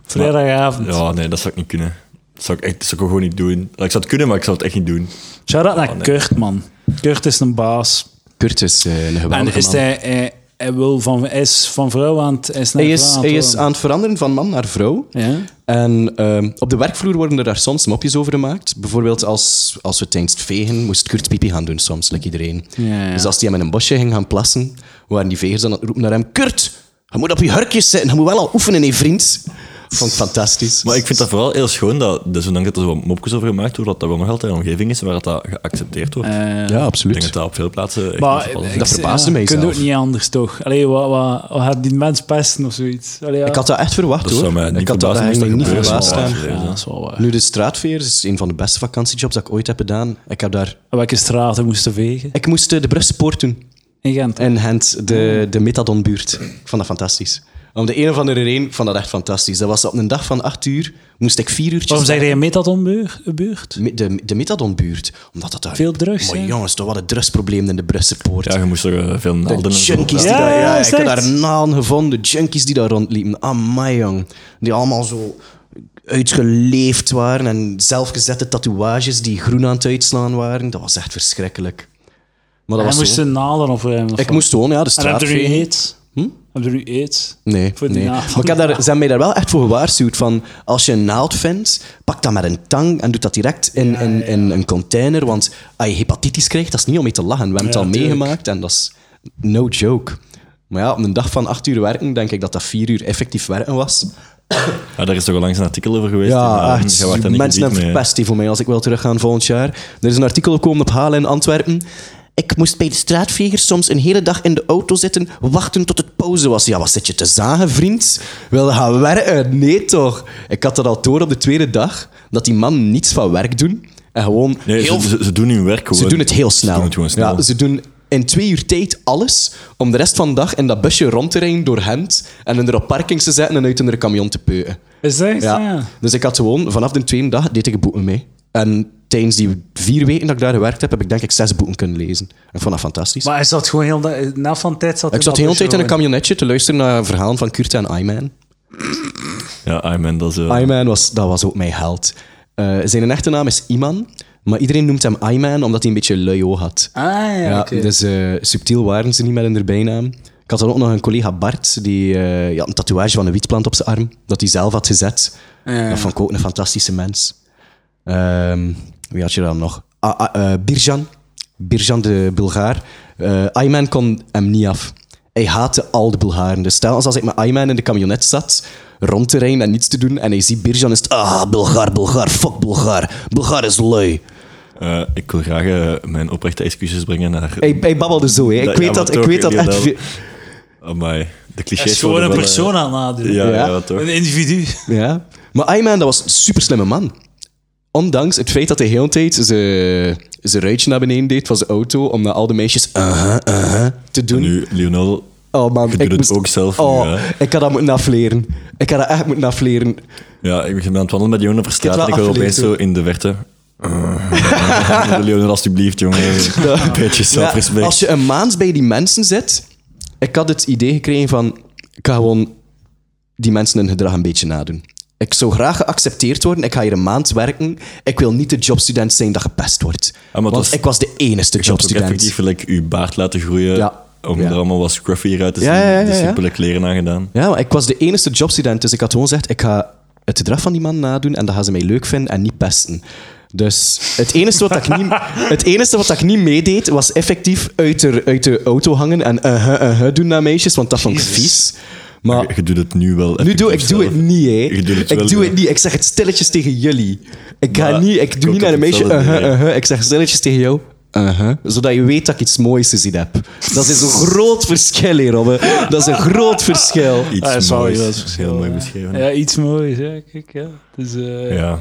B: Vrijdagavond.
A: Ja, nee, dat zou ik niet kunnen. Dat zou ik, echt, dat zou ik ook gewoon niet doen. Ik zou het kunnen, maar ik zou het echt niet doen.
B: Shout-out
C: Oh,
B: naar Kurt, man. Kurt is een baas.
C: Kurt is eh, een
B: En
C: geweldige
B: is
C: man.
B: hij, hij, hij wil van, hij is van vrouw aan het... Hij is, naar vrouw
C: Hij is,
B: aan het
C: hij is
B: worden.
C: aan het veranderen van man naar vrouw.
B: Ja?
C: En ehm, op de werkvloer worden er daar soms mopjes over gemaakt. Bijvoorbeeld als, als we tijdens het vegen moest Kurt pipi gaan doen soms, like iedereen.
B: Ja, ja.
C: Dus als hij hem in een bosje ging gaan plassen, waren die vegers dan aan het roepen naar hem... Kurt, je moet op je hurkjes zitten, je moet wel al oefenen, hè, vriend. Vond ik fantastisch.
A: Maar ik vind dat vooral heel schoon, dat, dus ondanks dat er zo mopjes over gemaakt wordt, dat dat wel nog altijd een omgeving is waar dat geaccepteerd wordt.
B: Eh,
C: Ja,
A: ik
C: absoluut.
A: denk dat dat op veel plaatsen echt
B: Maar
A: het geval is.
B: ik-
C: Dat verbaasde mij
B: Je kunt
C: zelf.
B: ook niet anders, toch? Allee, wat, wat, wat gaat die mens pesten of zoiets? Allee, ja.
C: Ik had dat echt verwacht,
A: Dat
C: hoor.
A: zou mij
C: ik
A: niet
C: had dat
A: verbazen moest dat
C: eigenlijk niet
A: gebeuren,
C: verbaasd
A: maar-
C: staan.
B: Ja, dat is wel waar.
C: Nu, de straatveer is een van de beste vakantiejobs dat ik ooit heb gedaan. Ik, heb daar...
B: Welke straten moesten vegen?
C: ik moest eh, de Brugse Poort doen.
B: In Gent.
C: in Gent, de, de Metadonbuurt. Ik vond dat fantastisch. Om de een of andere reden vond dat echt fantastisch. Dat was op een dag van acht uur, moest ik vier uurtjes...
B: Waarom zeg
C: werken.
B: je methadonbuurt?
C: Mi- De, de methadonbuurt. Omdat dat daar...
B: Veel drugs,
C: Maar
B: hè?
C: jongens, toch wat een drugsprobleem in de Brusselpoort.
A: Ja, je moest er eh, veel naalden
C: de
A: en zo.
C: junkies die
B: Ja,
C: daar...
B: ja,
C: Ja, ik
B: is
C: heb
B: echt.
C: daar naam gevonden. De junkies die daar rondliepen. Amai, jong. Die allemaal zo uitgeleefd waren en zelfgezette tatoeages die groen aan het uitslaan waren. Dat was echt verschrikkelijk. Maar dat
B: Hij
C: was
B: moest
C: zo.
B: zijn naalden opruimen. of
C: Ik
B: wat?
C: moest gewoon, ja, de
B: En
C: straat
B: heb je nu
C: vegen.
B: aids? Heb je nu aids?
C: Nee,
B: Voor die
C: nee.
B: naald.
C: Maar ik heb daar, ze hebben mij daar wel echt voor gewaarschuwd. Van, als je een naald vindt, pak dat met een tang en doe dat direct in, in, in een container. Want als je hepatitis krijgt, dat is niet om mee te lachen. We hebben het
B: Ja,
C: al
B: tuurlijk.
C: meegemaakt en dat is no joke. Maar ja, op een dag van acht uur werken, denk ik dat dat vier uur effectief werken was.
A: Ja, daar is toch al langs een artikel over geweest. en,
C: Ja,
A: eh,
C: echt.
A: jij werd daar niet
C: Mensen
A: gebied
C: hebben
A: mee, hè.
C: verpest die voor mij als ik wil teruggaan volgend jaar. Er is een artikel gekomen op Halen in Antwerpen. Ik moest bij de straatvegers soms een hele dag in de auto zitten, wachten tot het pauze was. Ja, wat zit je te zagen, vriend? Wil je gaan werken? Nee, toch? Ik had dat al door op de tweede dag, dat die man niets van werk doen. En gewoon
A: Nee,
C: heel
A: ze, ze- ze doen hun werk gewoon.
C: ze doen het heel
A: Ze
C: snel.
A: doen het gewoon snel.
C: Ja, ze doen in twee uur tijd alles om de rest van de dag in dat busje rond te rijden door Gent en hun er op parkings te zetten en uit hun camion te peuten.
B: Is dat echt?
C: Ja.
B: Ja.
C: Dus ik had gewoon, vanaf de tweede dag deed ik een boeken mee. En tijdens die vier weken dat ik daar gewerkt heb, heb ik denk ik zes boeken kunnen lezen. En ik vond dat fantastisch.
B: Maar dus hij zat gewoon heel... de- Na van tijd zat
C: ik zat de hele tijd in een camionetje te luisteren naar verhalen van Kurt en Iman.
A: Ja, I man, dat is... eh,
C: Iman was, dat was ook mijn held. Eh, zijn echte naam is Iman, maar iedereen noemt hem Iman omdat hij een beetje lui oog had.
B: Ah, ja,
C: Ja,
B: oké.
C: dus eh, subtiel waren ze niet met hun bijnaam. Ik had dan ook nog een collega Bart, die eh, die had een tatoeage van een wietplant op zijn arm, dat hij zelf had gezet.
B: Ah, Ja.
C: Dat vond ik ook een fantastische mens. Ehm, wie had je dan nog? Ah, ah, eh, Birjan. Birjan de Bulgaar. Eh Ayman kon hem niet af. Hij haatte al de Bulgaren. Dus stel als ik met Ayman in de camionet zat, rond te rijden en niets te doen, en hij ziet Birjan, is het... Ah, Bulgaar, Bulgaar, fuck Bulgaar. Bulgaar is lui.
A: eh, ik wil graag eh, mijn oprechte excuses brengen naar...
C: Hij, hij babbelde zo, hè. Ik,
A: Ja,
C: weet,
A: maar
C: dat, ik
A: toch,
C: weet dat echt...
A: inderdaad.
C: veel-
A: eh, Amai, de
B: Hij
A: clichés
B: is gewoon
A: worden
B: een
A: wel, eh,
B: persoon aan het nadoen.
A: Ja, ja.
C: Ja.
A: toch.
B: Een individu.
C: Ja. Maar Iman, dat was een super slimme man. Ondanks het feit dat hij heel de tijd zijn, zijn ruitje naar beneden deed van zijn auto om naar al de meisjes uh-huh, uh-huh te doen.
A: Nu, Lionel,
C: oh man,
A: je doet het ook zelf nu,
C: Oh,
A: hè?
C: ik had dat moeten afleren. Ik had dat echt moeten afleren.
A: ja, ik ben aan het wandelen met Lionel over straat
C: wel
A: en ik hoor opeens
C: afgeleerd,
A: zo in de verte...
C: (laughs)
A: eh, Lionel, alsjeblieft, jongen. Een beetje zelfrespect.
C: Ja, als je een maand bij die mensen zit, ik had het idee gekregen van, ik ga gewoon die mensen hun gedrag een beetje nadoen. Ik zou graag geaccepteerd worden. Ik ga hier een maand werken. Ik wil niet de jobstudent zijn dat gepest wordt.
A: Ah, maar het
C: Want
A: was-
C: ik was de enige
A: Je hebt ook
C: jobstudent.
A: effectief like, je baard laten groeien
C: Ja.
A: om
C: Ja.
A: er allemaal wat scruffier uit te zien.
C: Ja, ja, ja,
A: de
C: ja.
A: simpele kleren aan gedaan.
C: Ja, maar ik was de enige jobstudent, dus ik had gewoon gezegd, ik ga het gedrag van die man nadoen en dat gaan ze mij leuk vinden en niet pesten. Dus het enige wat ik
A: (laughs)
C: niet, het enige wat ik niet meedeed, was effectief uit de, uit de auto hangen en eh eh, eh, eh, doen naar meisjes, want dat vond ik vies.
A: Je,
C: Maar
A: je doet het nu wel.
C: nu doe ik
A: effectief
C: doe het
A: zelf.
C: niet, hè.
A: Je doet het wel,
C: ik doe
A: ja.
C: het niet. Ik zeg het stilletjes tegen jullie. Ik ga
A: Maar
C: niet, ik
A: ik
C: doe
A: ook
C: niet
A: op
C: naar een meisje, eh
A: hetzelfde
C: eh,
A: idee.
C: eh, eh. ik zeg stilletjes tegen jou. eh, eh, Zodat je weet dat ik iets moois gezien heb. Dat is een groot verschil hier, Robbe. Dat is een groot verschil.
A: Iets
B: Ah, dat is wel
A: moois.
C: (laughs)
B: heel
A: Dat is heel mooi beschreven. Ja.
B: Ja, iets moois. Ja, kijk, ja. Dus, eh,
A: ja.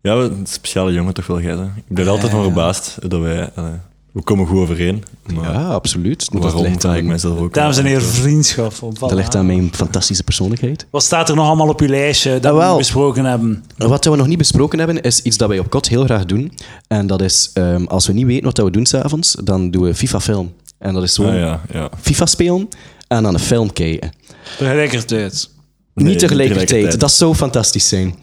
A: we- een speciale jongen toch wel, jij. hè? Ik ben er altijd van verbaasd dat wij... eh, we komen goed overeen, maar
C: Ja, absoluut. Maar dat
A: waarom
C: ligt
A: vraag ik
C: aan,
A: mijzelf ook.
B: Dames en
A: af.
B: heren, vriendschap. Voilà.
C: dat ligt aan mijn fantastische persoonlijkheid.
B: Wat staat er nog allemaal op uw lijstje dat we
C: Jawel.
B: niet besproken hebben?
C: Wat we nog niet besproken hebben, is iets dat wij op kot heel graag doen. En dat is, ehm, als we niet weten wat we doen s'avonds, dan doen we FIFA-film. En dat is gewoon
A: Ah, ja, ja.
C: FIFA spelen en aan een film kijken.
B: Tegelijkertijd.
A: Nee,
C: niet tegelijkertijd.
A: tegelijkertijd.
C: Dat zou fantastisch zijn.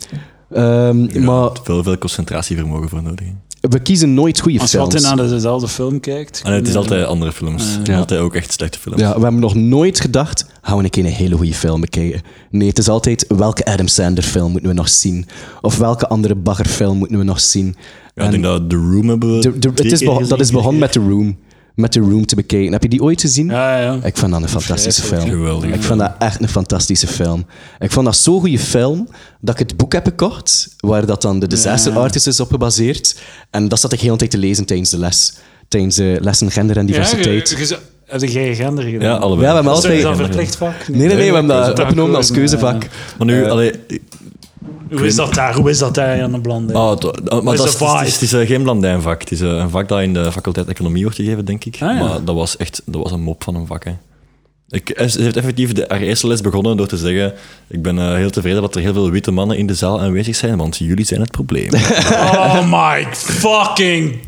C: Ehm, Maar
A: Veel, veel concentratievermogen voor nodig. Ah, hè.
C: we kiezen nooit goede
B: Als je
C: films. Ah,
B: altijd naar dezelfde film kijkt. eh,
A: En het is altijd andere films.
C: ja.
A: Altijd ook echt slechte films.
C: Ja, we hebben nog nooit gedacht, gaan we een keer een hele goede film bekijken. Nee, het is altijd, welke Adam Sandler film moeten we nog zien? Of welke andere baggerfilm moeten we nog zien?
A: Ja, ik
C: En-
A: denk dat The Room hebben we
C: De- de-
A: twee
C: het
A: keer
C: is begon-
A: gezien,
C: dat is
A: drie
C: begonnen
A: keer.
C: met The Room. Met The Room te bekijken. Heb je die ooit gezien?
B: Ja, ja.
C: Ik vond dat een fantastische film.
A: Geweldig.
C: Ik vond dat echt een fantastische film. Ik vond dat zo'n goede film dat ik het boek heb gekocht, waar dat dan de Disaster Artist is op gebaseerd. En dat zat ik heel de tijd te lezen tijdens de les. Tijdens de lessen gender en diversiteit.
B: Heb je geen gender gedaan?
A: Ja, allebei.
C: Ja, we hebben
B: Is dat-
C: altijd-
B: Is dat een verplicht vak?
C: Nee, nee, nee, we hebben
A: Nee,
C: dat
B: dat
C: opgenomen als
B: aankomen,
C: keuzevak.
A: Maar nu,
C: Eh,
A: allee,
B: Hoe is dat daar? Hoe is dat daar aan de
C: Ah,
B: blande?
A: Oh, het- oh, maar
B: is
A: dat
B: een
A: is, het is-
B: vibe.
A: het is, eh, geen blandijnvak. Het is eh, een vak dat in de faculteit economie wordt gegeven, denk ik.
B: Ah, ja.
A: Maar dat was echt dat was een mop van een vak. Hè. Ik, eh, ze heeft effectief de RS-les begonnen door te zeggen: Ik ben eh, heel tevreden dat er heel veel witte mannen in de zaal aanwezig zijn, want jullie zijn het probleem.
B: Oh my fucking god!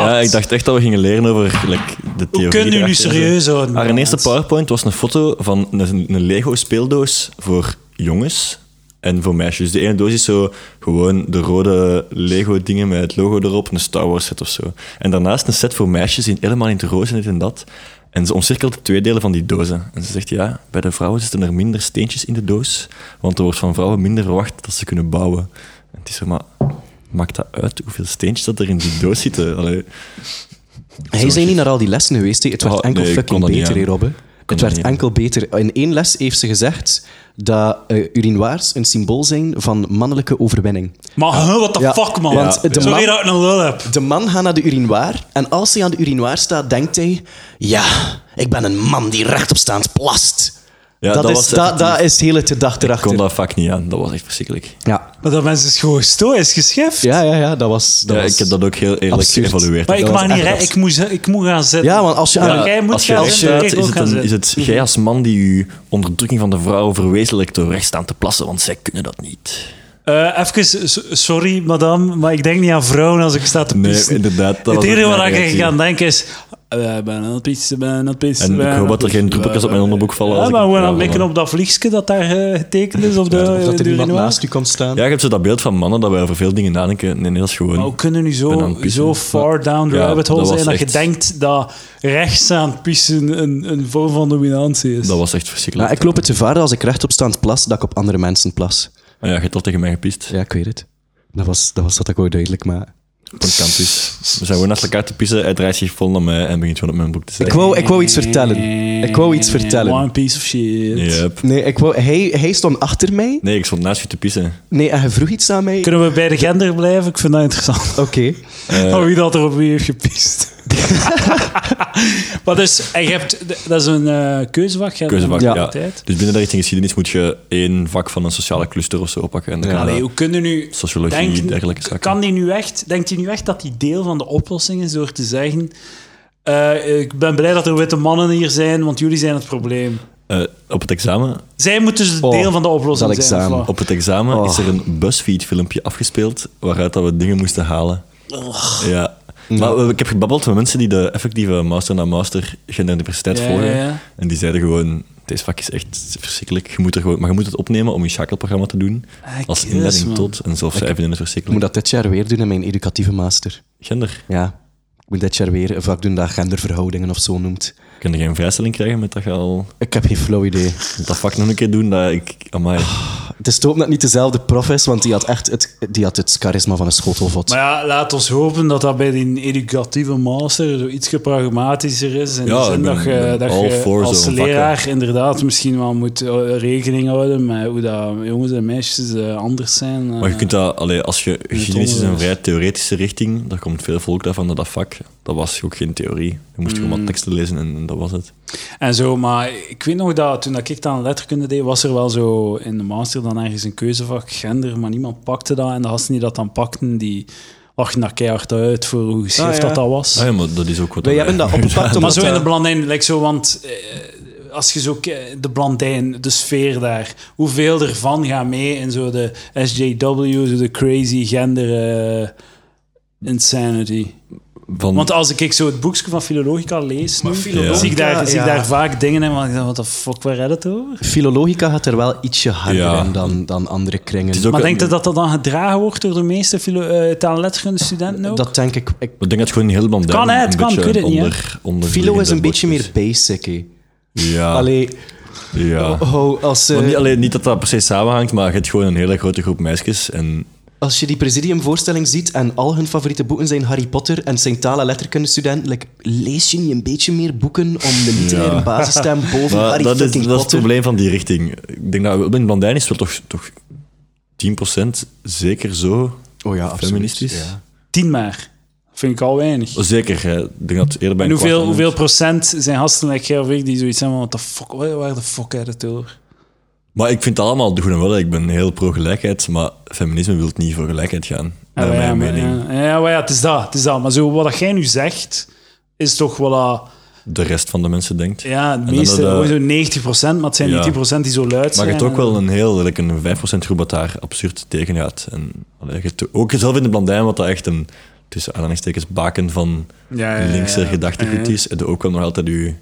A: ja, ik dacht echt dat we gingen leren over like, de theorie.
B: Hoe kunnen jullie
A: erachter.
B: serieus houden?
A: Haar eerste
B: mensen?
A: PowerPoint was een foto van een, een Lego-speeldoos voor jongens en voor meisjes. De ene doos is zo gewoon de rode Lego-dingen met het logo erop, een Star Wars set of zo. En daarnaast een set voor meisjes, in, helemaal in het roze en dit en dat. En ze omcirkelt de twee delen van die dozen. En ze zegt, ja, bij de vrouwen zitten er minder steentjes in de doos, want er wordt van vrouwen minder verwacht dat ze kunnen bouwen. En het is zo, maar maakt dat uit hoeveel steentjes dat er in die doos zitten? Allee,
C: Hij zijn niet naar al die lessen geweest. hè. Het werd
A: Oh,
C: enkel
A: nee, ik kon
C: fucking
A: dat niet
C: beter,
A: aan.
C: hè, Robbe. Het
A: dat
C: werd
A: niet aan.
C: enkel beter. In één les heeft ze gezegd dat eh, urinoirs een symbool zijn van mannelijke overwinning.
B: Maar huh, what the
C: Ja.
B: fuck, man?
C: Want de
B: Sorry
C: man-
B: dat ik een lul heb.
C: De man gaat naar de urinoir en als hij aan de urinoir staat, denkt hij... Ja, ik ben een man die rechtopstaand plast.
A: Ja,
C: dat,
A: dat
C: is,
A: was
C: dat,
A: effectief.
C: dat is het hele gedachte
A: ik kon
C: erachter.
A: dat vak niet aan, dat was echt verschrikkelijk.
C: Ja.
B: Maar dat mensen is gewoon stoïs geschift.
C: Ja, ja, ja, dat was... Dat
A: Ja,
C: was...
A: ik heb dat ook heel eerlijk
C: absurd.
A: geëvalueerd.
B: Maar ik
C: Dat
B: mag
C: was
B: niet
C: echt
B: rijden,
C: absurd.
B: ik moet, ik moet gaan zitten.
C: Ja, want als je aan-
B: Ja, jij moet
A: als je
B: gaan
A: recht
B: zitten,
A: staat,
B: ik
A: is
B: ook
A: het,
B: gaan
A: een, is
B: zitten.
A: het jij als man die je onderdrukking van de vrouw verwezenlijkt door recht staan te plassen, want zij kunnen dat niet.
B: Eh, even, so- sorry madame, maar ik denk niet aan vrouwen als ik sta te
A: Nee,
B: pissen.
A: inderdaad, dat
B: het
A: was
B: enige
A: ook
B: waar
A: mijn
B: ik
A: reactie.
B: aan denk is... eh, Ik ben aan het pissen, ben aan het pissen.
A: En
B: ben
A: ik
B: aan
A: hoop
B: het
A: dat er geen
B: pissen.
A: druppeltjes op mijn onderbroek vallen.
B: eh, Ja,
A: als ik
B: "Ah, maar
A: een
B: gewoon aan
A: vrouw
B: het likken
A: ben.
B: op dat vliegje dat daar eh, getekend is op de,
C: Of
B: de
C: dat er iemand
B: urinoir.
C: naast u komt staan.
A: Eh, Ja, je hebt zo dat beeld van mannen dat wij over veel dingen nadenken. Nee, nee, dat is gewoon...
B: Maar hoe kunnen nu
A: ben aan
B: zo,
A: het pissen.
B: zo far down the
A: Ja,
B: rabbit hole
A: dat
B: zijn
A: was
B: dat je
A: echt-
B: denkt dat rechts aan pissen een, een vorm van dominantie is?
A: Dat was echt
C: Maar
A: verschrikkelijk.
C: ik loop het gevaar dat als ik rechtopstaand plas, dat ik op andere mensen plas.
A: Maar ja, je hebt toch tegen mij gepiest.
C: Ja, ik weet het. Dat was dat, was dat ook wel duidelijk, maar...
A: Op een campus. dus. We zijn gewoon naast elkaar te pissen. Hij draait zich vol naar mij en begint gewoon op mijn broek te
C: Ik
A: zitten.
C: wou, ik wou iets vertellen. Ik wou iets
B: One
C: vertellen.
B: piece of shit.
A: Yep.
C: Nee, ik wou, hij, hij stond achter mij.
A: Nee, ik stond naast je te pissen.
C: Nee, en hij vroeg iets aan mij.
B: Kunnen we bij de gender blijven? Ik vind dat interessant.
C: Oké.
A: Eh.
B: Van (laughs) wie dat er op wie heeft
A: (laughs)
B: gepiest. maar dus, en je hebt, dat is een eh, keuzevak. je hebt
A: Keuzevak,
B: een
A: ja.
B: Altijd.
A: Dus binnen de richting geschiedenis moet je één vak van een sociale cluster of zo oppakken. En dan kan je
B: Allee, hoe kunnen nu...
A: sociologie,
B: Denk-
A: dergelijke zaken.
B: Kan die nu echt, denkt hij nu echt dat die deel van de oplossing is door te zeggen... eh, ik ben blij dat er witte mannen hier zijn, want jullie zijn het probleem.
A: Eh, op het examen,
B: Zij moeten dus
C: Oh,
B: deel van de oplossing
C: dat
B: zijn.
C: examen.
B: voilà.
A: op het examen
C: Oh.
A: is er een BuzzFeed-filmpje afgespeeld waaruit dat we dingen moesten halen. Ja. Maar we- ik heb gebabbeld met mensen die de effectieve master na master gender en diversiteit
B: Ja,
A: volgen.
B: ja, ja.
A: En die zeiden gewoon, deze vak is echt verschrikkelijk. Je moet er gewoon, maar je moet het opnemen om je schakelprogramma te doen.
B: Ah,
A: als
B: yes,
A: inleiding
B: man.
A: tot. En zelfs zij vinden het
C: Ik moet
A: verschrikkelijk.
C: dat dit jaar weer doen in mijn educatieve master.
A: Gender.
C: Ja. Ik moet dit jaar weer een vak doen dat genderverhoudingen of zo noemt.
A: Kun je geen vrijstelling krijgen met dat je al
C: Ik heb geen flauw idee.
A: dat vak nog een keer doen? Dat ik, amai.
B: Ah.
C: Het is toop dat het niet dezelfde prof is, want die had echt het, die had het charisma van een schotelvot.
B: Maar ja, laat ons hopen dat dat bij die educatieve master zo iets pragmatischer is. In
A: Ja,
B: de
A: ik
B: zin
A: ben-
B: dat je,
A: ben
B: dat
A: all
B: je
A: for
B: als
A: zo'n
B: leraar inderdaad misschien wel moet eh, rekening houden met hoe dat jongens en meisjes eh, anders zijn. eh.
A: Maar je kunt dat, allee, als je geschiedenis is een
B: onderwijs.
A: vrij theoretische richting, daar komt veel volk daarvan naar dat vak. Dat was ook geen theorie. Je moest
B: Hmm.
A: gewoon wat teksten lezen en, en dat was het.
B: En zo, maar ik weet nog dat toen ik aan letterkunde deed, was er wel zo in de master dan ergens een keuzevak gender, maar niemand pakte dat. En de gasten die dat dan pakten, die lachten daar keihard uit voor hoe geschift
C: Ah, ja.
B: dat dat was.
A: Ah ja, maar dat is ook wat
C: Wij
A: wij- (laughs)
C: hebben dat opgepakt omdat... eh,
B: Maar zo in de
C: dat-
B: Blandijn, like zo, want eh, als je zo ke- de Blandijn, de sfeer daar, hoeveel ervan gaat mee in zo de SJW, zo de crazy gender eh, insanity?
A: van,
B: Want als ik zo het boekje van Filologica lees, nu,
A: Filologica,
B: zie, ik daar, zie ik daar
C: ja.
B: vaak dingen in, want ik denk, wat de fuck, waar redt het over?
C: Filologica gaat er wel ietsje harder
A: Ja.
C: in dan, dan andere kringen.
A: het is ook
B: Maar
A: een-
B: denk je dat dat dan gedragen wordt door de meeste filo- eh, taal- en letterkunde studenten ook?
C: Dat denk ik... ik
A: Ik denk dat het gewoon heel Blandijn
B: Kan, hè, het
A: een
B: kan,
A: beetje
B: ik weet het niet, hè.
A: onder, onder
C: Philo is een beetje
A: dus.
C: meer basic, hè.
A: Ja,
C: Allee,
A: ja.
C: oh, als, eh,
A: Want niet, alleen, niet dat dat precies samenhangt, maar je hebt gewoon een hele grote groep meisjes. En
C: als je die Presidium-voorstelling ziet en al hun favoriete boeken zijn Harry Potter en zijn taal- en letterkundestudenten, like, lees je niet een beetje meer boeken om de literaire
A: Ja.
C: basisstem boven
A: Maar
C: Harry
A: dat, is, dat
C: fucking
A: is het
C: Potter?
A: probleem van die richting. Ik denk dat in Blandijn is wel toch, toch 10% zeker zo
C: Oh ja, absoluut.
A: feministisch.
C: Ja.
B: Tien maar. Vind ik al weinig.
A: Zeker, hè. ik denk dat het eerder bij
B: En
A: een kwart
B: hoeveel,
A: aan
B: hoeveel
A: is.
B: procent zijn gasten, like jij of ik, die zoiets hebben van, what the fuck, waar waar de fuck gaat het over?
A: Maar ik vind het allemaal goed en wel. Ik ben heel pro-gelijkheid, maar feminisme wil niet voor gelijkheid gaan.
B: Ah, Ja,
A: Naar
B: maar
A: mijn
B: ja, maar
A: mening.
B: Ja, ja, maar ja, het is dat. Het is dat. Maar zo, wat dat jij nu zegt, is toch wel... dat-
A: de rest van de mensen denkt.
B: Ja,
A: En
B: het
A: dan
B: meeste,
A: dat, eh,
B: gewoon zo'n 90%, maar het zijn
A: Ja.
B: die 10% die zo luid
A: Maar
B: zijn.
A: je hebt ook
B: en-
A: wel een heel, like een 5% groep dat daar absurd tegen gaat. En allee, je hebt ook zelf in de Blandijn, wat dat echt een, tussen aanhalingstekens, baken van
B: Ja, ja, ja,
A: linkse
B: ja.
A: gedachtegoed
B: Ja, ja.
A: is. En ook wel nog altijd je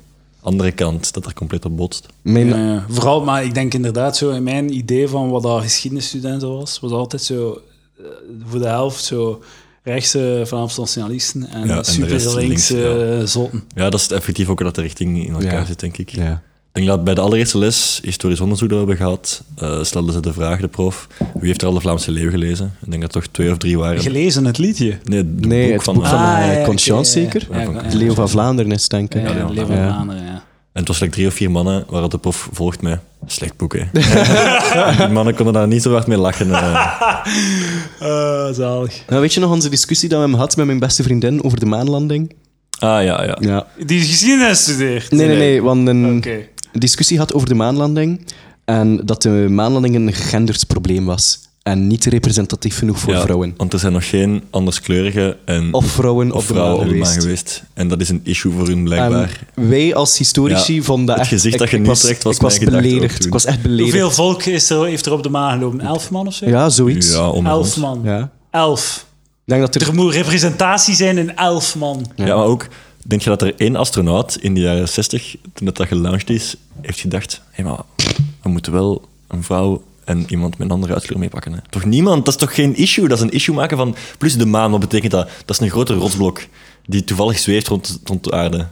A: andere kant, dat daar compleet op botst.
C: Mijn,
B: Ja, ja. vooral, maar ik denk inderdaad zo in mijn idee van wat dat geschiedenisstudenten was, was altijd zo eh, voor de helft zo rechtse Vlaamse nationalisten en
A: Ja, en de rest
B: super
A: links,
B: linkse
A: ja.
B: zotten.
A: Ja, dat is effectief ook dat de richting in elkaar
C: Ja.
A: zit, denk ik.
C: ja.
A: Ik denk dat bij de allereerste les, historisch onderzoek dat we hebben gehad, eh, stelden ze de vraag, de prof, wie heeft er al de Vlaamse Leeuw gelezen? Ik denk dat er toch twee of drie waren.
B: Gelezen het liedje.
A: nee, het
C: Nee,
A: boek
C: het
A: van...
C: boek van-
A: Ah.
C: eh, Conscience zeker?
B: Ja,
A: Ja,
B: ja,
A: van
B: ja.
C: Het Leeuw van Vlaanderen is, denk ik.
B: Ja,
A: Ja,
B: ja,
A: ja.
B: Leeuw van
C: Ja.
B: Vlaanderen, ja.
A: En het was slechts drie of vier mannen, waar de prof volgt mij. Slecht
C: (laughs)
A: boek, hè. die mannen konden daar niet zo hard mee lachen. eh.
B: zalig.
C: Nou, weet je nog onze discussie dat we hebben gehad met mijn beste vriendin over de maanlanding?
A: Ah, ja, ja.
C: Ja.
B: Die is geschiedenis studeert.
C: Nee, nee, nee, want een
B: Oké.
C: discussie had over de maanlanding en dat de maanlanding een genderd probleem was en niet representatief genoeg voor
A: Ja,
C: vrouwen.
A: Want er zijn nog geen anderskleurige en
C: Of vrouwen
A: of
C: op de maan
A: vrouwen op de maan
C: geweest.
A: geweest. En dat is een issue voor hun,
C: En
A: blijkbaar.
C: wij als historici
A: Ja,
C: vonden
A: het
C: echt...
A: gezicht
C: ik-
A: dat je
C: ik
A: nu
C: was,
A: trekt was
C: Ik was
A: mijn gedachte ook
C: beledigd.
A: toen.
C: Ik was echt beledigd.
B: Hoeveel volk is er, heeft er op de maan gelopen? Elf man of zo?
C: Ja, zoiets.
A: ja, om de
B: elf
A: grond.
B: man.
C: Ja.
B: Elf.
C: Ik denk dat er...
B: Er moet representatie zijn in elf man.
A: Ja. maar ook, denk je dat er één astronaut in de jaren 60, toen dat, dat gelaunched is, heeft gedacht: hé, maar we moeten wel een vrouw en iemand met een andere uitkleur meepakken. hè? Toch niemand? Dat is toch geen issue? Dat is een issue maken van. Plus de maan, wat betekent dat? Dat is een grote rotsblok die toevallig zweeft rond, rond de aarde.
C: Ik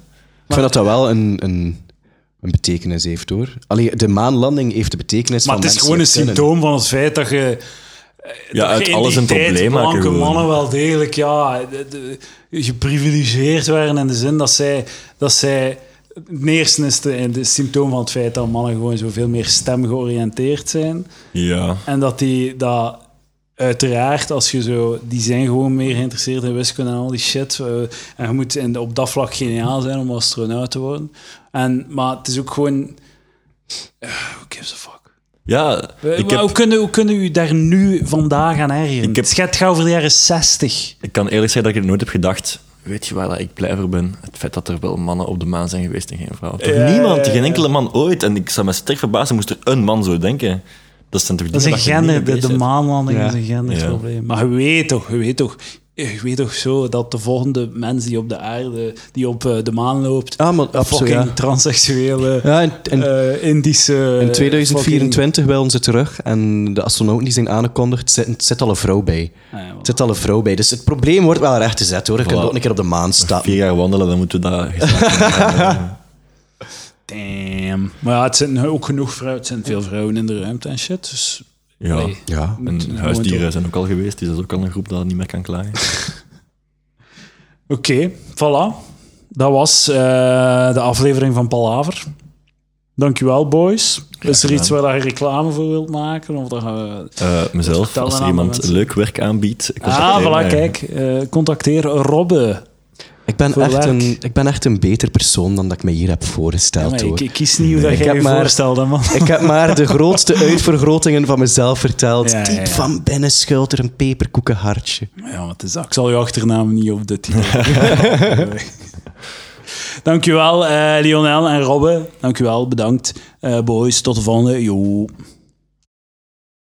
C: vind dat dat wel een, een, een betekenis heeft, hoor. Allee, de maanlanding heeft de betekenis
B: Maar
C: van
B: het is gewoon een
C: menselijk kunnen.
B: symptoom van het feit dat je.
A: Ja,
B: dat
A: uit
B: je in
A: alles
B: die
A: een
B: tijd
A: probleem maken.
B: Blanke
A: gewoon.
B: mannen wel degelijk, ja, de- de- geprivilegeerd waren in de zin dat zij. Dat zij het eerste is de- het symptoom van het feit dat mannen gewoon zoveel meer stemgeoriënteerd zijn.
A: Ja.
B: En dat die dat uiteraard, als je zo, die zijn gewoon meer geïnteresseerd in wiskunde en al die shit. eh, en je moet in, op dat vlak geniaal zijn om astronaut te worden. En, maar het is ook gewoon. eh, who gives a fuck?
A: Ja,
B: Eh,
A: ik,
B: maar Hoe
A: heb,
B: kunnen, hoe kunnen u daar nu vandaag aan ergeren?
A: Ik heb-
B: Het gaat over de jaren 60.
A: ik kan eerlijk zeggen dat ik het nooit heb gedacht. Weet je waar dat ik blij voor ben? Het feit dat er wel mannen op de maan zijn geweest en geen vrouwen. Toch
B: Ja,
A: niemand,
B: ja, ja.
A: geen enkele man ooit. En ik zou me sterk verbazen, moest er een man zo denken. Dat zijn toch
B: Dat is
A: dingen
B: een
A: je niet mee
B: gender, de,
A: bezig
B: de
A: bent.
B: maanlanding
C: Ja.
B: is een genderprobleem. Maar je weet toch, je weet toch, je weet toch zo dat de volgende mens die op de aarde, die op eh, de maan loopt,
C: Ah, maar
B: een
C: absoluut,
B: fucking
C: ja.
B: transseksuele,
C: Ja, en, en
B: eh, Indische...
C: in 2024 willen ze terug en de astronauten die zijn aangekondigd, zit, zit al een vrouw bij.
B: fucking- Ah, ja,
C: Het zit al een vrouw bij. Dus het probleem wordt wel recht gezet, hoor. Je kunt
A: Voilà.
C: ook een keer op de maan staan.
A: Vier jaar wandelen, dan moeten we daar.
B: (laughs) Damn. Maar ja, het zijn ook genoeg vrouwen, het zijn veel vrouwen in de ruimte en shit, dus...
A: Ja.
B: nee.
C: Ja.
B: Moet-
A: En
B: moet
A: huisdieren zijn ook al geweest, dus dat is ook al een groep dat niet meer kan klagen.
B: Oké, voilà. Dat was eh, de aflevering van Palaver. Dankjewel, boys. Is er
A: gedaan.
B: iets waar je reclame voor wilt maken? Of dat je...
A: Eh, mezelf,
B: Vertel
A: als
B: aan andere
A: er iemand
B: mensen.
A: leuk werk aanbiedt. contacteer
B: Ah, voilà,
A: mij.
B: kijk. eh, contacteer Robbe.
C: Ik ben,
B: Voor
C: echt
B: werk.
C: een, ik ben echt een beter persoon dan dat ik me hier heb voorgesteld,
B: Maar ik,
C: hoor.
B: ik kies niet hoe dat
C: Ik
B: jij
C: heb
B: je
C: maar-
B: voorstelde, man.
C: Ik heb maar de
B: (laughs)
C: grootste uitvergrotingen van mezelf verteld.
B: Ja, ja,
C: Diep
B: ja.
C: van binnen schuilt er een peperkoekenhartje.
B: Ja, maar het is, ik zal je achternaam niet op de titel. Nee. Dankjewel, eh Lionel en Robbe. Dankjewel, bedankt. Eh boys, tot de volgende. Joe.